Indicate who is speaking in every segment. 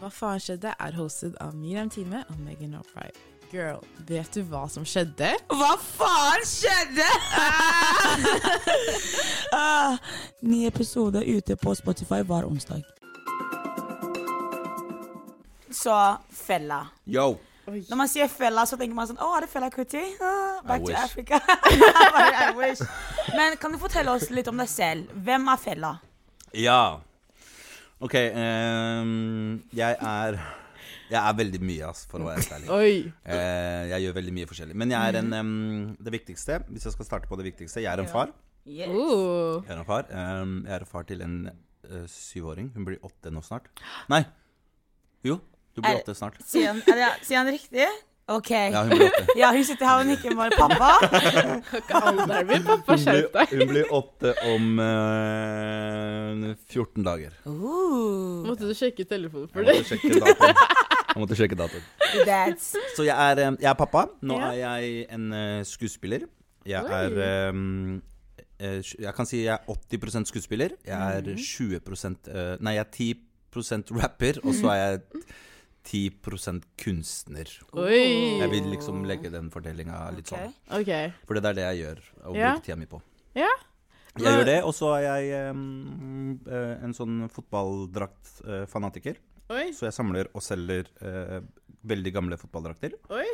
Speaker 1: Hva faen skjedde? er hostet av Miriam Time og Megan O'Fry. Girl, vet du hva som skjedde?
Speaker 2: Hva faen skjedde?! Ah, Ny episode ute på Spotify hver onsdag. Så fella.
Speaker 3: Yo!
Speaker 2: Når man sier fella, så tenker man sånn Å, er det fella Kuti? Ah, back
Speaker 3: I
Speaker 2: to
Speaker 3: wish.
Speaker 2: Africa. Bare, I wish. Men kan du fortelle oss litt om deg selv? Hvem er fella?
Speaker 3: Ja. OK, ehm, jeg er Jeg er veldig mye, ass, for å være helt ærlig.
Speaker 1: Oi!
Speaker 3: Eh, jeg gjør veldig mye forskjellig. Men jeg er en ehm, Det viktigste, hvis jeg skal starte på det viktigste, jeg er en far.
Speaker 1: Oh.
Speaker 3: Jeg er en far, Ehm, jeg er en far til en eh, syvåring. Hun blir åtte nå snart. Nei. Jo, hun
Speaker 2: Er-
Speaker 3: blir åtte snart.
Speaker 2: Sier han, er det- sier han det riktig? OK.
Speaker 3: Ja, hun blir åtte.
Speaker 2: Ja, hun sitter her og nikker bare pappa.
Speaker 1: Alderen min, pappa.
Speaker 3: Hun
Speaker 1: Skjerp
Speaker 3: blir,
Speaker 1: deg.
Speaker 3: hun blir åtte om eh, 14 dager.
Speaker 2: Ooh,
Speaker 1: Måtte du sjekke telefonen for det?
Speaker 3: Jeg måtte sjekke datoen. Jeg måtte sjekke datoen.
Speaker 2: that's
Speaker 3: Så jeg er, eh, jeg er pappa. Nå
Speaker 1: Ja.
Speaker 3: er jeg en eh, skuespiller. Jeg
Speaker 1: Oi.
Speaker 3: er eh, eh, Jeg kan si jeg er 80 skuespiller. Jeg
Speaker 1: Mhm.
Speaker 3: er 20 eh, Nei, jeg er 10 rapper, og så er jeg 10 kunstner.
Speaker 1: Oh. Oi!
Speaker 3: Jeg vil liksom legge den fortellinga litt
Speaker 2: Ok.
Speaker 3: sånn.
Speaker 1: OK.
Speaker 3: For det er det jeg gjør og
Speaker 1: Ja.
Speaker 3: bruker tida mi på.
Speaker 1: Ja.
Speaker 3: Jeg gjør det, og så er jeg eh, eh, en sånn fotballdraktfanatiker.
Speaker 1: Oi,
Speaker 3: Så jeg samler og selger eh, veldig gamle fotballdrakter.
Speaker 1: oi.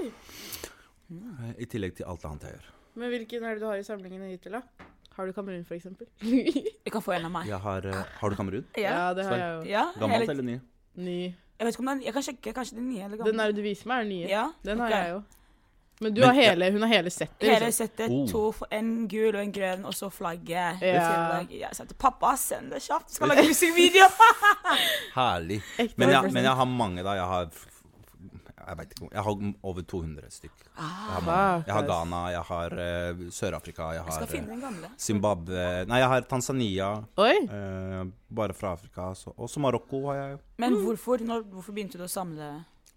Speaker 3: eh, I tillegg til alt annet jeg gjør.
Speaker 1: Men hvilken er det du har i samlingen hittil, da? Har du Kamerun, for eksempel?
Speaker 2: Du kan få en av meg.
Speaker 3: Jeg har, eh, har du Kamerun?
Speaker 2: Ja.
Speaker 1: ja, det har jeg jo.
Speaker 2: ja.
Speaker 3: Gammelt
Speaker 2: eller-
Speaker 3: eller ny?
Speaker 1: Ny.
Speaker 2: Jeg vet ikke om den Jeg kan sjekke kanskje den nye eller gamle.
Speaker 1: Den der du viser meg, er nye.
Speaker 2: Ja,
Speaker 1: Den har
Speaker 2: ok.
Speaker 1: jeg jo. Men du
Speaker 3: Men-
Speaker 1: har hele, hun har hele settet.
Speaker 2: Hele
Speaker 1: Liksom.
Speaker 2: settet.
Speaker 3: Oh.
Speaker 2: To, for- en gul og en grønn, og så flagget.
Speaker 1: Ja.
Speaker 2: Til- ja, så til pappa, send det kjapt. Skal lage musikkvideo!
Speaker 3: Herlig.
Speaker 1: Ekte
Speaker 3: Men jeg,
Speaker 1: 100%.
Speaker 3: men jeg har mange, da. Jeg har f- f- jeg vet ikke, hvor- jeg har over 200 stykk. Jeg
Speaker 2: Ah,
Speaker 3: har, mange. jeg har
Speaker 1: fuck, ass.
Speaker 3: Ghana, jeg har eh, Sør-Afrika, jeg
Speaker 2: Skal
Speaker 3: har
Speaker 2: finne
Speaker 3: eh,
Speaker 2: den gamle.
Speaker 3: Zimbabwe Nei, jeg har Tanzania,
Speaker 1: Oi!
Speaker 3: eh, bare fra Afrika. Så, også Marokko har jeg.
Speaker 2: Men hvorfor, når, hvorfor begynte du å samle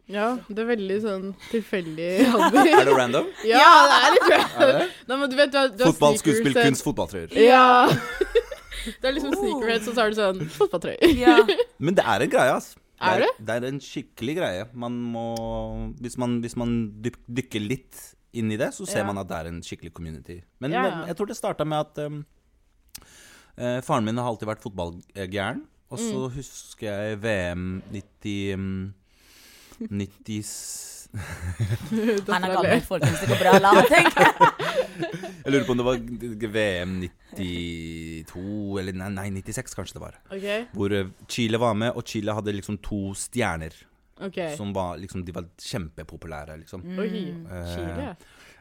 Speaker 1: Ja, det er veldig sånn tilfeldig alder.
Speaker 3: Er det random?
Speaker 1: Ja, det er litt bra. Nei, men du vet, du har, du har
Speaker 3: Fotball,
Speaker 1: sneakers,
Speaker 3: skuespill,
Speaker 1: eh,
Speaker 3: kunst, fotballtrøyer.
Speaker 1: Ja. Det er liksom sneakerhead, så tar du sånn fotballtrøye.
Speaker 2: Ja,
Speaker 3: Men det er en greie, ass.
Speaker 1: Er
Speaker 3: det? Er, det er en skikkelig greie. Man må Hvis man, hvis man dyk, dykker litt inn i det, så ser
Speaker 1: Ja.
Speaker 3: man at det er en skikkelig community. Men
Speaker 1: Ja,
Speaker 3: men
Speaker 1: ja.
Speaker 3: jeg tror det starta med at um, eh, faren min har alltid vært fotballgæren. Og så
Speaker 1: Mm.
Speaker 3: husker jeg VM 90 um, 90
Speaker 2: han er gammel, folkens. Det går bra. La meg tenke.
Speaker 3: Jeg lurer på om det var VM 92 eller nei, nei 96 kanskje det var.
Speaker 1: OK.
Speaker 3: Hvor eh, Chile var med, og Chile hadde liksom to stjerner.
Speaker 1: ok.
Speaker 3: Som var liksom De var kjempepopulære, liksom.
Speaker 1: Oi.
Speaker 3: Eh,
Speaker 1: Chile.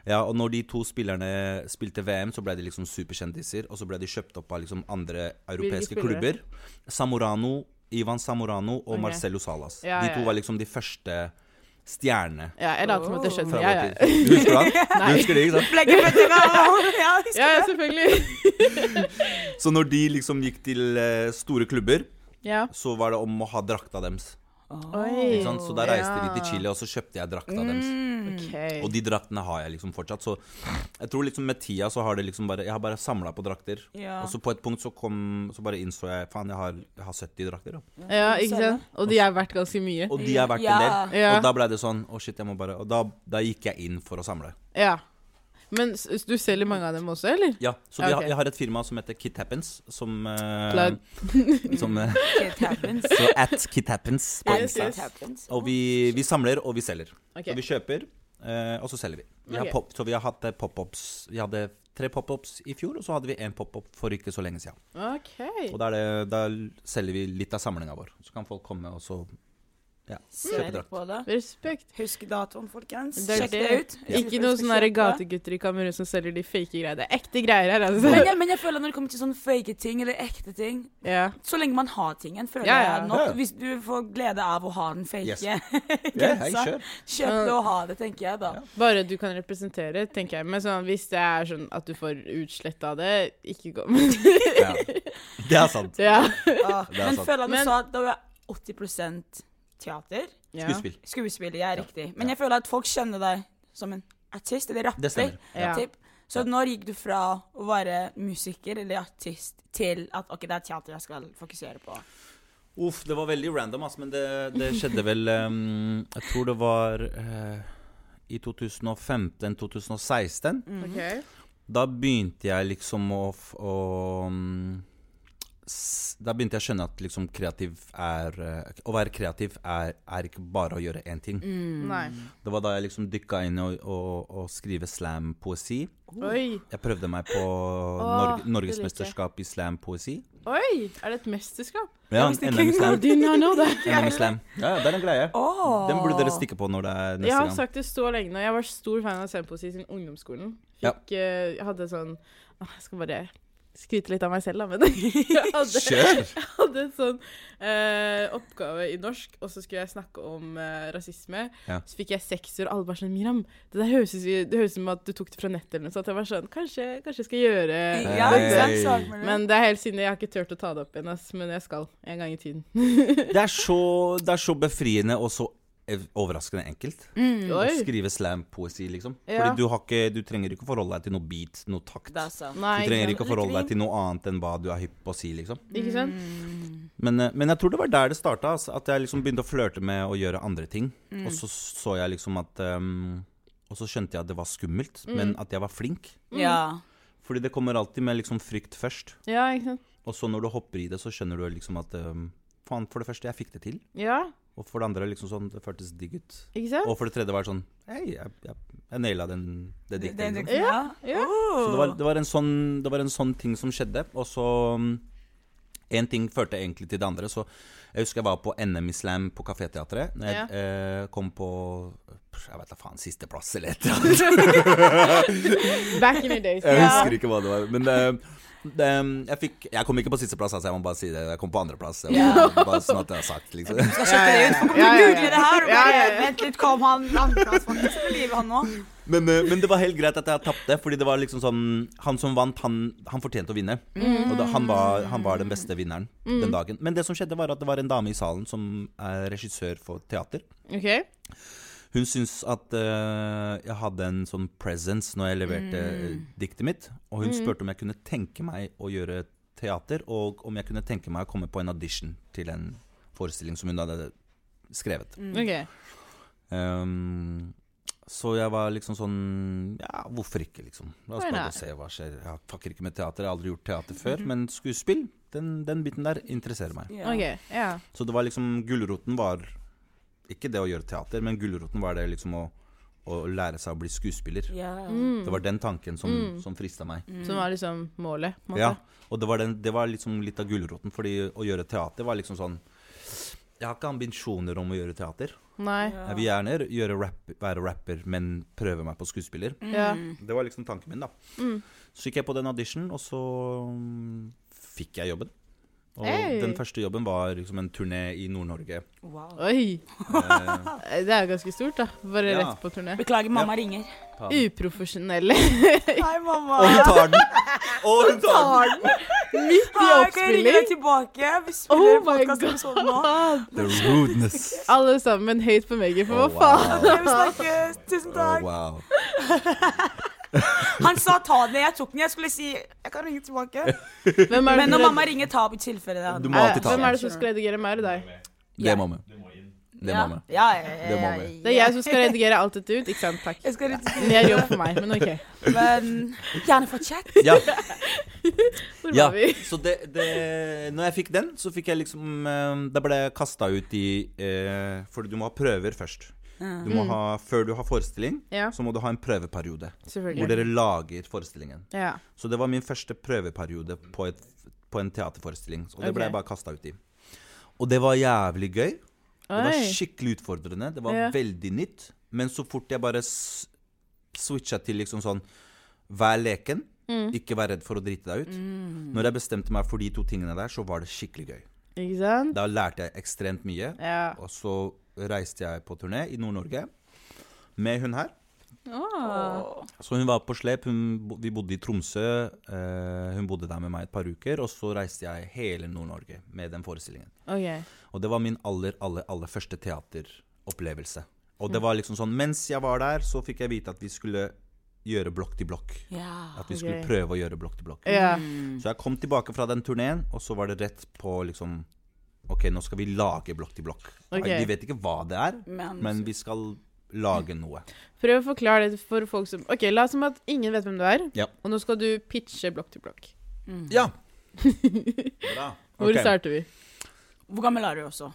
Speaker 3: Ja, og når de to spillerne spilte VM, så ble de liksom superkjendiser. Og så ble de kjøpt opp av liksom andre europeiske klubber.
Speaker 1: spillere?
Speaker 3: Samorano, Ivan Samorano og
Speaker 1: Ok.
Speaker 3: Marcelo Salas.
Speaker 1: Ja,
Speaker 3: de
Speaker 1: ja,
Speaker 3: to
Speaker 1: ja.
Speaker 3: var liksom de første stjernene.
Speaker 1: Ja, jeg later som at jeg
Speaker 3: Fra
Speaker 1: skjønner. Ja,
Speaker 3: vår
Speaker 1: ja.
Speaker 3: tid. Du husker han? Du husker det, ikke sant?
Speaker 2: Ble ikke født i gang. Ja, jeg husker
Speaker 1: ja, ja selvfølgelig.
Speaker 3: Så når de liksom gikk til eh, store klubber,
Speaker 1: Ja.
Speaker 3: så var det om å ha drakta deres.
Speaker 1: Oi.
Speaker 3: Ikke sant? Så da
Speaker 1: Mm.
Speaker 3: reiste vi til Chile, og så kjøpte jeg drakta deres.
Speaker 1: OK.
Speaker 3: Og de draktene har jeg liksom fortsatt. Så jeg tror liksom med tida så har det liksom bare Jeg har bare samla på drakter.
Speaker 2: Ja.
Speaker 3: Og så på et punkt så kom Så bare innså jeg faen, jeg har, jeg har 70 drakter. Da.
Speaker 1: Ja, ikke sant? Og de er verdt ganske mye.
Speaker 3: Og de er verdt en
Speaker 2: Ja.
Speaker 3: del.
Speaker 1: Ja.
Speaker 3: Og da ble det sånn Å, shit, jeg må bare Og da, da gikk jeg inn for å samle.
Speaker 1: Ja. Men s- s- du selger mange av dem også, eller?
Speaker 3: Ja, så vi
Speaker 1: Ja, ok.
Speaker 3: har, jeg har et firma som heter Kit Happens, som eh,
Speaker 1: Plug.
Speaker 3: som, eh,
Speaker 2: It happens.
Speaker 3: Så at Kit Happens på
Speaker 2: Yes,
Speaker 3: Insta.
Speaker 2: it happens.
Speaker 3: Og vi, vi samler, og vi selger.
Speaker 1: Ok.
Speaker 3: Så vi kjøper, eh, og så selger vi. vi har
Speaker 1: Ok.
Speaker 3: pop, så vi har hatt eh, pop-ups Vi hadde tre pop-ups i fjor, og så hadde vi én pop-up for ikke så lenge siden.
Speaker 1: OK.
Speaker 3: Og da, er det, da selger vi litt av samlinga vår. Så kan folk komme og så ja, kjøpe
Speaker 2: Ser
Speaker 3: drakt.
Speaker 2: på det.
Speaker 1: Respekt.
Speaker 2: Husk datoen, folkens.
Speaker 1: Det er
Speaker 2: Sjekk
Speaker 1: det.
Speaker 2: det sånn ut.
Speaker 1: Ikke noen sånne her gategutter i Kamerun som selger de fake greiene. Det er ekte greier her,
Speaker 2: Men
Speaker 1: altså.
Speaker 2: jeg, men jeg føler når det kommer til sånne fake ting eller ekte ting
Speaker 1: Ja.
Speaker 2: Så lenge man har tingen, føler
Speaker 1: Ja, ja.
Speaker 2: jeg nok.
Speaker 3: Ja.
Speaker 2: Hvis du får glede av å ha den fake,
Speaker 3: Yes. Ja, hei,
Speaker 1: altså.
Speaker 2: så
Speaker 3: kjør.
Speaker 2: kjøp det og ha det, tenker jeg da.
Speaker 1: Bare du kan representere, tenker jeg. Men sånn, hvis det er sånn at du får utsletta det, ikke gå med det.
Speaker 3: Ja. Det er sant.
Speaker 1: Ja.
Speaker 2: Ja.
Speaker 3: er
Speaker 2: Ah. Men
Speaker 3: sant.
Speaker 2: føler at du
Speaker 1: Men-
Speaker 2: sa at det var 80 teater.
Speaker 1: Ja.
Speaker 3: Skuespill.
Speaker 2: Skuespiller, jeg er riktig. Men jeg føler at folk kjenner deg som en artist eller
Speaker 3: Det
Speaker 2: rapper.
Speaker 3: stemmer.
Speaker 1: Ja.
Speaker 2: typ. Så når gikk du fra å være musiker eller artist til at OK, det er teater jeg skal fokusere på?
Speaker 3: Uff, det var veldig random, ass, men det, det skjedde vel ehm, Jeg tror det var eh, i 2015-2016.
Speaker 1: Ok.
Speaker 3: Da begynte jeg liksom å, f- å mm, s- Da begynte jeg å skjønne at liksom kreativ er eh, Å være kreativ er, er ikke bare å gjøre én
Speaker 1: Mm.
Speaker 3: ting.
Speaker 1: Nei.
Speaker 3: Det var da jeg liksom dykka inn og, og, og skrive slampoesi.
Speaker 1: Oi.
Speaker 3: Jeg prøvde meg på Norge,
Speaker 1: det liker jeg.
Speaker 3: Norgesmesterskap i slampoesi.
Speaker 1: Oi! Er det et mesterskap?
Speaker 3: Ja,
Speaker 2: hvis det
Speaker 3: NM i
Speaker 1: I
Speaker 2: ikke-
Speaker 3: slam.
Speaker 1: did not know that.
Speaker 3: NM i slam. Ja, ja, det er en greie.
Speaker 2: Åh.
Speaker 3: Den burde dere stikke på når det er
Speaker 1: Jeg
Speaker 3: neste
Speaker 1: har
Speaker 3: gang.
Speaker 1: sagt det så lenge nå. Jeg var stor fan av Semposi siden ungdomsskolen.
Speaker 3: Ja.
Speaker 1: Fikk, eh, jeg hadde sånn Åh, Jeg skal bare skryte litt av meg selv, da, men jeg hadde,
Speaker 3: Kjør!
Speaker 1: jeg hadde en sånn eh, oppgave i norsk, og så skulle jeg snakke om eh, rasisme.
Speaker 3: Ja.
Speaker 1: Så fikk jeg sekser, og alle bare sånn Miriam, det der høres ut det høres ut som at du tok det fra nettet eller noe sånt. Jeg var sånn Kanskje, kanskje jeg skal gjøre
Speaker 2: Ja,
Speaker 3: Hei.
Speaker 2: ikke sant? Sak med det.
Speaker 1: Men det er helt siden jeg har ikke turt å ta det opp igjen, ass, men jeg skal en gang i tiden.
Speaker 3: Det er så, det er så befriende og så ev- overraskende enkelt å
Speaker 1: Oi.
Speaker 3: skrive slampoesi, liksom.
Speaker 1: Ja.
Speaker 3: Fordi du, har ikke, du trenger ikke å forholde deg til noe beat, noe takt.
Speaker 2: Det er sant.
Speaker 1: Nei,
Speaker 3: Du trenger ikke å forholde
Speaker 2: Litt
Speaker 3: deg til noe annet enn hva du er hypp på å si, liksom.
Speaker 1: Ikke sant?
Speaker 2: Mm.
Speaker 3: Men, eh, men jeg tror det var der det starta, altså, at jeg liksom begynte å flørte med å gjøre andre ting. Og så så jeg liksom at ehm, Og så skjønte jeg at det var skummelt, men at jeg var flink.
Speaker 1: Mm.
Speaker 2: Ja.
Speaker 3: Fordi det kommer alltid med liksom frykt først.
Speaker 1: Ja, ikke sant?
Speaker 3: Og så når du hopper i det, så skjønner du liksom at ehm, Faen, for det første, jeg fikk det til.
Speaker 1: Ja,
Speaker 3: Og for det andre liksom sånn, det føltes digg ut.
Speaker 1: ikke sant?
Speaker 3: Og for det tredje var det sånn Hei, jeg, jeg, jeg naila den, det
Speaker 2: Det,
Speaker 3: diktet.
Speaker 2: det,
Speaker 3: liksom.
Speaker 2: ja. Oh.
Speaker 1: ja.
Speaker 2: Åh.
Speaker 3: Så det var, det, var en sånn, det var en sånn ting som skjedde, og så Én ting førte egentlig til det andre. Så jeg husker jeg var på NM i slam på Kaféteatret. Når jeg eh, kom på jeg vet da faen, sisteplass eller et eller annet.
Speaker 1: Back in the days.
Speaker 3: Jeg
Speaker 1: Ja.
Speaker 3: husker ikke hva det var. Men eh, det, jeg, fikk, jeg kom ikke på sisteplass, altså. Jeg må bare si det. Jeg kom på andreplass. Jeg må Bare sånn at jeg har sagt, liksom.
Speaker 2: Skal sjekke det ut. For kommer
Speaker 1: Ja, ja,
Speaker 2: til å
Speaker 1: ja.
Speaker 2: google det her. Og
Speaker 1: Ja,
Speaker 2: bare,
Speaker 1: ja, ja.
Speaker 2: Vent litt, kom han langplass faktisk med livet, han nå?
Speaker 3: Men, eh, men det var helt greit at jeg tapte, fordi det var liksom sånn Han som vant, han, han fortjente å vinne. Og da, han, var, han var den beste vinneren den dagen. Men det som skjedde, var at det var en dame i salen som er regissør for teater.
Speaker 1: Ok.
Speaker 3: Hun syntes at eh, jeg hadde en sånn presence når jeg leverte eh, diktet mitt. Og hun spurte om jeg kunne tenke meg å gjøre teater, og om jeg kunne tenke meg å komme på en audition til en forestilling som hun hadde skrevet.
Speaker 2: Mm.
Speaker 1: Ok.
Speaker 3: Ehm, så jeg var liksom sånn Ja, hvorfor ikke, liksom? La oss
Speaker 1: Why
Speaker 3: bare
Speaker 1: not?
Speaker 3: gå og se hva skjer. Jeg fucker ikke med teater, jeg har aldri gjort teater før. Men skuespill, den, den biten der interesserer meg.
Speaker 2: Ja.
Speaker 1: Ok, ja.
Speaker 3: Så det var liksom Gulroten var ikke det å gjøre teater, men gulroten var det liksom å, å lære seg å bli skuespiller.
Speaker 2: Ja.
Speaker 1: Mm.
Speaker 3: Det var den tanken som, som frista meg.
Speaker 1: Som var liksom målet. på Mm. en måte.
Speaker 3: Ja, og det var, den, det var liksom litt av gulroten, fordi å gjøre teater var liksom sånn Jeg har ikke ambisjoner om å gjøre teater.
Speaker 1: Nei.
Speaker 3: Jeg vil gjerne gjøre rap, være rapper, men prøve meg på skuespiller.
Speaker 1: Ja.
Speaker 2: Mm.
Speaker 3: Det var liksom tanken min, da.
Speaker 1: Mm.
Speaker 3: Så gikk jeg på den auditionen, og så mm, fikk jeg jobben. Og
Speaker 1: Hey.
Speaker 3: den første jobben var liksom en turné i Nord-Norge. Eh,
Speaker 2: Wow.
Speaker 1: Oi. Det er jo ganske stort, da. Bare
Speaker 3: Ja.
Speaker 1: rett på turné.
Speaker 2: Beklager, mamma ringer.
Speaker 1: Uprofesjonelle.
Speaker 2: Hei, mamma.
Speaker 3: Og hun tar den! Og hun tar den!
Speaker 2: Barn.
Speaker 1: Midt i
Speaker 2: Hei, kan jeg ringe
Speaker 1: oppspilling.
Speaker 2: deg tilbake? Vi
Speaker 1: Oh
Speaker 2: spiller
Speaker 1: my
Speaker 2: oh podkastepisode nå.
Speaker 3: The rudeness.
Speaker 1: Alle sammen høyt på Megan, for
Speaker 3: Å,
Speaker 1: hva faen?
Speaker 3: Oh, wow.
Speaker 2: Jeg vil snakkes. Tusen
Speaker 3: Å,
Speaker 2: takk.
Speaker 3: Oh, wow.
Speaker 2: Han sa ta den, jeg tok den. Jeg skulle si jeg kan ringe tilbake.
Speaker 1: Hvem er det,
Speaker 2: Men
Speaker 1: som
Speaker 2: når
Speaker 1: redd-
Speaker 2: mamma ringer, ta opp i tilfelle det
Speaker 3: Du
Speaker 2: hadde
Speaker 3: må alltid ta
Speaker 1: hvem er
Speaker 3: den.
Speaker 1: det som skal redigere meg eller deg?
Speaker 3: Det må vi. Det må vi.
Speaker 2: Ja, ja, ja, ja,
Speaker 3: Det må
Speaker 2: ja,
Speaker 3: vi.
Speaker 1: Det er jeg som skal redigere alt dette ut, ikke sant? Takk.
Speaker 2: Jeg skal ringe
Speaker 1: Det er jobb for meg, men OK.
Speaker 2: Men gjerne fortsett.
Speaker 3: Ja,
Speaker 1: Hvor
Speaker 3: ja.
Speaker 1: var vi?
Speaker 3: Så det, det Når jeg fikk den, så fikk jeg liksom eh, Da ble jeg kasta ut i eh, Fordi du må ha prøver først.
Speaker 2: Mm.
Speaker 3: Du
Speaker 1: Mm.
Speaker 3: må ha, før du har forestilling,
Speaker 1: Ja.
Speaker 3: så må du ha en prøveperiode. Hvor
Speaker 1: Selvfølgelig.
Speaker 3: dere lager forestillingen.
Speaker 1: Ja.
Speaker 3: Så det var min første prøveperiode på, et, på en teaterforestilling. Og det
Speaker 1: Ok.
Speaker 3: ble jeg bare kasta ut i. Og det var jævlig gøy. Det var
Speaker 1: Oi.
Speaker 3: skikkelig utfordrende. Det var
Speaker 1: Ja.
Speaker 3: veldig nytt. Men så fort jeg bare s- switcha til liksom sånn Vær leken,
Speaker 1: Mm.
Speaker 3: ikke vær redd for å drite deg ut. Når jeg bestemte meg for de to tingene der, så var det skikkelig gøy.
Speaker 1: Ikke sant?
Speaker 3: Da lærte jeg ekstremt mye.
Speaker 1: Ja.
Speaker 3: Og så reiste jeg på turné i Nord-Norge med hun her. Så hun var på slep. Hun, bo- vi bodde i Tromsø. eh, hun bodde der med meg et par uker. Og så reiste jeg hele Nord-Norge med den forestillingen.
Speaker 1: OK.
Speaker 3: Og det var min aller, aller, aller første teateropplevelse. Og det var liksom sånn Mens jeg var der, så fikk jeg vite at vi skulle gjøre blokk til blokk.
Speaker 2: Ja.
Speaker 3: At vi skulle
Speaker 1: Ok.
Speaker 3: prøve å gjøre blokk til blokk.
Speaker 1: Ja.
Speaker 3: Så jeg kom tilbake fra den turneen, og så var det rett på liksom Ok, nå skal vi lage Blokk til blokk.
Speaker 1: Ok.
Speaker 3: Vi vet ikke hva det er,
Speaker 2: Men,
Speaker 3: men vi skal lage noe.
Speaker 1: Prøv å forklare det for folk som Ok, la oss som at ingen vet hvem du er,
Speaker 3: Ja.
Speaker 1: og nå skal du pitche blokk til blokk.
Speaker 2: Mm.
Speaker 3: Ja! Bra.
Speaker 1: Hvor
Speaker 3: Ok.
Speaker 1: starter vi?
Speaker 2: Hvor gammel er du også?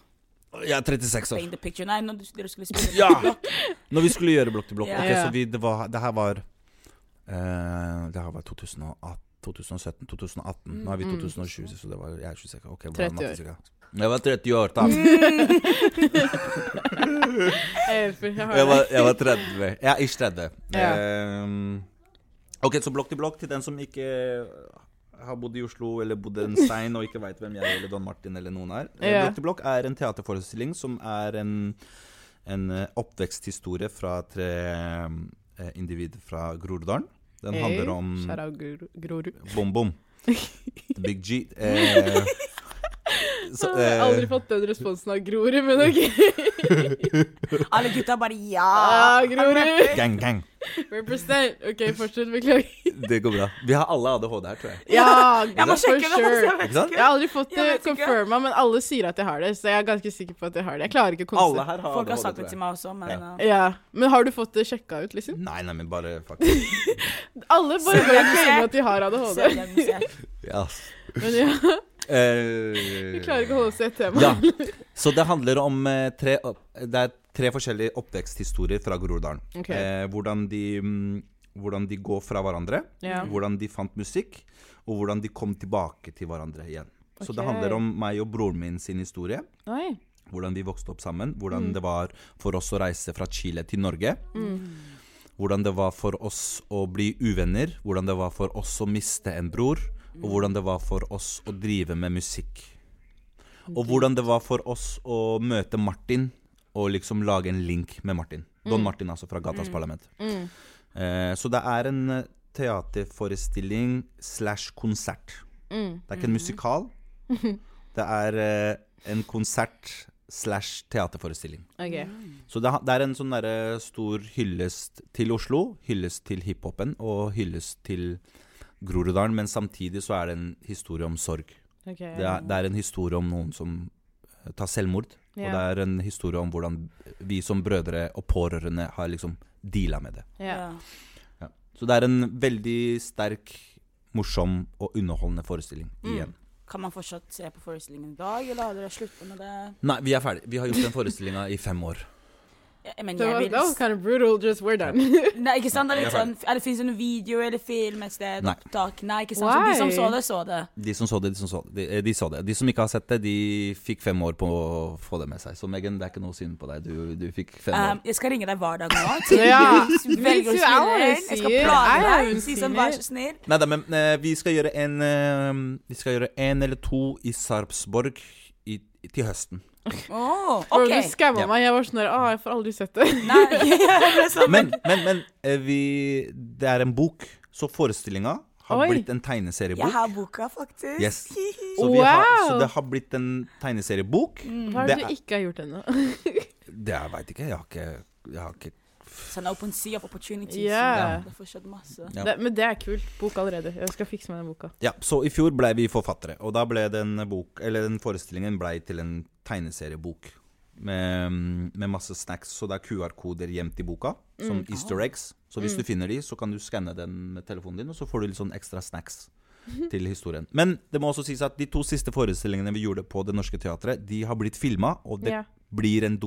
Speaker 3: Jeg er 36 år.
Speaker 2: Paint the picture. Nei, når du, dere skulle spille
Speaker 3: Ja! Når vi skulle gjøre Blokk til blokk.
Speaker 2: Ja.
Speaker 3: Ok, så vi, det, var, det her var eh, Det her var 2018. 2017, 2018. Nå er vi
Speaker 1: Mm.
Speaker 3: 2020, så det var, jeg er 26. Ok, hvordan
Speaker 1: 30 år.
Speaker 3: matte skal jeg ha? Jeg var 30 år, da.
Speaker 1: Jeg, jeg har
Speaker 3: Jeg
Speaker 1: det.
Speaker 3: var, jeg var 30. Jeg er ish 30.
Speaker 1: Ja.
Speaker 3: Ehm, ok, så blokk til blokk til den som ikke eh, har bodd i Oslo eller bodd en stein og ikke veit hvem jeg eller Don Martin eller noen er. Eh,
Speaker 1: Ja.
Speaker 3: Blokk til blokk er en teaterforestilling som er en, en eh, oppveksthistorie fra tre eh, individ fra Groruddalen. Den handler om
Speaker 1: Hey, shout out Gro- Grorud.
Speaker 3: bom-bom. Big G. Eh, så,
Speaker 1: Jeg
Speaker 3: eh,
Speaker 1: har aldri fått den responsen av Grorud, men OK.
Speaker 2: Ah, Alle gutta bare ja!
Speaker 1: Ah, Grorud!
Speaker 3: gang, gang.
Speaker 1: Represent. OK, fortsett. Beklager.
Speaker 3: Det går bra. Vi har alle ADHD her, tror jeg.
Speaker 1: Ja,
Speaker 2: Jeg må
Speaker 1: for
Speaker 2: sjekke det.
Speaker 1: sure.
Speaker 2: faktisk.
Speaker 3: Ikke sant?
Speaker 1: Jeg har aldri fått
Speaker 2: Jeg
Speaker 1: det
Speaker 2: vet ikke.
Speaker 1: confirma, men alle sier at jeg har det. Så jeg er ganske sikker på at jeg har det. Jeg klarer ikke å
Speaker 3: Alle
Speaker 1: konse-
Speaker 3: her har
Speaker 2: Folk har
Speaker 3: ADHD,
Speaker 2: sagt
Speaker 3: tror
Speaker 2: det til
Speaker 3: jeg.
Speaker 2: meg også, men
Speaker 3: Ja.
Speaker 2: uh,
Speaker 1: Ja, Men har du fått det sjekka ut, liksom?
Speaker 3: Nei, nei, men bare faktisk
Speaker 1: Alle bare går
Speaker 2: Selv
Speaker 1: og
Speaker 2: jeg
Speaker 1: claimer
Speaker 2: ser.
Speaker 1: at de har ADHD.
Speaker 2: selvdiagnosert.
Speaker 3: Ja.
Speaker 1: Men ja,
Speaker 3: Eh,
Speaker 1: de klarer ikke å holde seg i et tema.
Speaker 3: Ja. Så det handler om eh, tre, opp- det er tre forskjellige oppveksthistorier fra Groruddalen.
Speaker 1: Ok.
Speaker 3: Eh, hvordan, de, mm, hvordan de går fra hverandre,
Speaker 1: Ja.
Speaker 3: hvordan de fant musikk, og hvordan de kom tilbake til hverandre igjen. Så det
Speaker 1: Ok.
Speaker 3: handler om meg og broren min sin historie.
Speaker 1: Nei.
Speaker 3: Hvordan vi vokste opp sammen. Hvordan det var for oss å reise fra Chile til Norge. Hvordan det var for oss å bli uvenner. Hvordan det var for oss å miste en bror. Og hvordan det var for oss å drive med musikk. Og hvordan det var for oss å møte Martin og liksom lage en link med Martin. Don Martin, altså, fra Gatas Parlament. Eh, så det er en eh, teaterforestilling slash konsert. Det er ikke en musikal. Det er eh, en konsert slash teaterforestilling.
Speaker 1: OK.
Speaker 3: Så det, ha- det er en sånn derre stor hyllest til Oslo, hyllest til hiphopen og hyllest til Groruddalen, men samtidig så er det en historie om sorg.
Speaker 1: ok.
Speaker 3: Det er, det er en historie om noen som eh, tar selvmord, og det
Speaker 1: Ja.
Speaker 3: er en historie om hvordan vi som brødre og pårørende har liksom deala med det.
Speaker 1: Ja.
Speaker 2: Ja.
Speaker 3: Så det er en veldig sterk, morsom og underholdende forestilling igjen.
Speaker 2: Kan man fortsatt se på forestillingen i dag, eller har dere slutta med det?
Speaker 3: Nei, vi er ferdig. Vi har gjort den forestillinga i fem år.
Speaker 2: Jeg, jeg mener,
Speaker 1: Det
Speaker 2: jeg
Speaker 1: var,
Speaker 2: vil
Speaker 1: that was kind of brutal, just we're done.
Speaker 2: Nei, ikke sant? Det er litt
Speaker 3: Jeg er
Speaker 2: sånn, er det fins en video eller film et sted?
Speaker 3: Nei.
Speaker 2: Opptak? Nei, ikke sant? Så de som
Speaker 1: Why?
Speaker 2: så det, så det.
Speaker 3: De som så det, de som så det. De, de, så det. de som ikke har sett det, de fikk fem år på å få det med seg. Så Megan, det er ikke noe synd på deg. Du, du fikk fem
Speaker 2: Um,
Speaker 3: år.
Speaker 2: jeg skal ringe deg hver dag nå.
Speaker 1: Ja.
Speaker 2: Til du
Speaker 1: Me
Speaker 2: velger å
Speaker 1: too, I wanna
Speaker 2: spille inn. Jeg skal
Speaker 1: see it. I
Speaker 2: plage
Speaker 1: haven't
Speaker 2: deg. Si
Speaker 1: seen
Speaker 2: sånn, vær
Speaker 1: it.
Speaker 2: så snill.
Speaker 3: Nei da, men eh, vi skal gjøre en eh, Vi skal gjøre en eller to i Sarpsborg i, i, til høsten.
Speaker 2: Åh,
Speaker 1: Bro,
Speaker 2: Oh, OK.
Speaker 1: Du skamma
Speaker 3: Ja.
Speaker 1: meg. Jeg var sånn der Å, jeg får aldri sett det.
Speaker 2: Nei, jeg ble sånn.
Speaker 3: Men, men, men eh, vi Det er en bok, så forestillinga har
Speaker 1: Oi.
Speaker 3: blitt en
Speaker 2: Jeg
Speaker 3: tegneseriebok.
Speaker 2: har boka, faktisk.
Speaker 3: Yes. Så, vi har,
Speaker 1: Wow.
Speaker 3: så
Speaker 1: Mm.
Speaker 3: det har blitt en tegneseriebok.
Speaker 2: Mm.
Speaker 1: Hva er
Speaker 3: Det
Speaker 1: det
Speaker 3: er-
Speaker 1: du ikke har gjort ennå?
Speaker 3: Det jeg veit ikke. Jeg har ikke, jeg har ikke
Speaker 2: Sånn open sea of opportunities.
Speaker 1: Yeah.
Speaker 2: Det får skjedd masse.
Speaker 3: Ja.
Speaker 1: Det, men det er kult. Bok allerede. Jeg skal fikse meg den boka.
Speaker 3: Ja, så i fjor ble vi forfattere, og da ble den, bok, eller den forestillingen ble til en tegneseriebok. Med, med masse snacks, så det er QR-koder gjemt i boka, som easter eggs. Så hvis du finner de, så kan du skanne den med telefonen din, og så får du litt sånn ekstra snacks til historien. Men det må også sies at de to siste forestillingene vi gjorde på Det Norske Teatret, de har blitt filma, og det
Speaker 1: Ja.
Speaker 3: blir en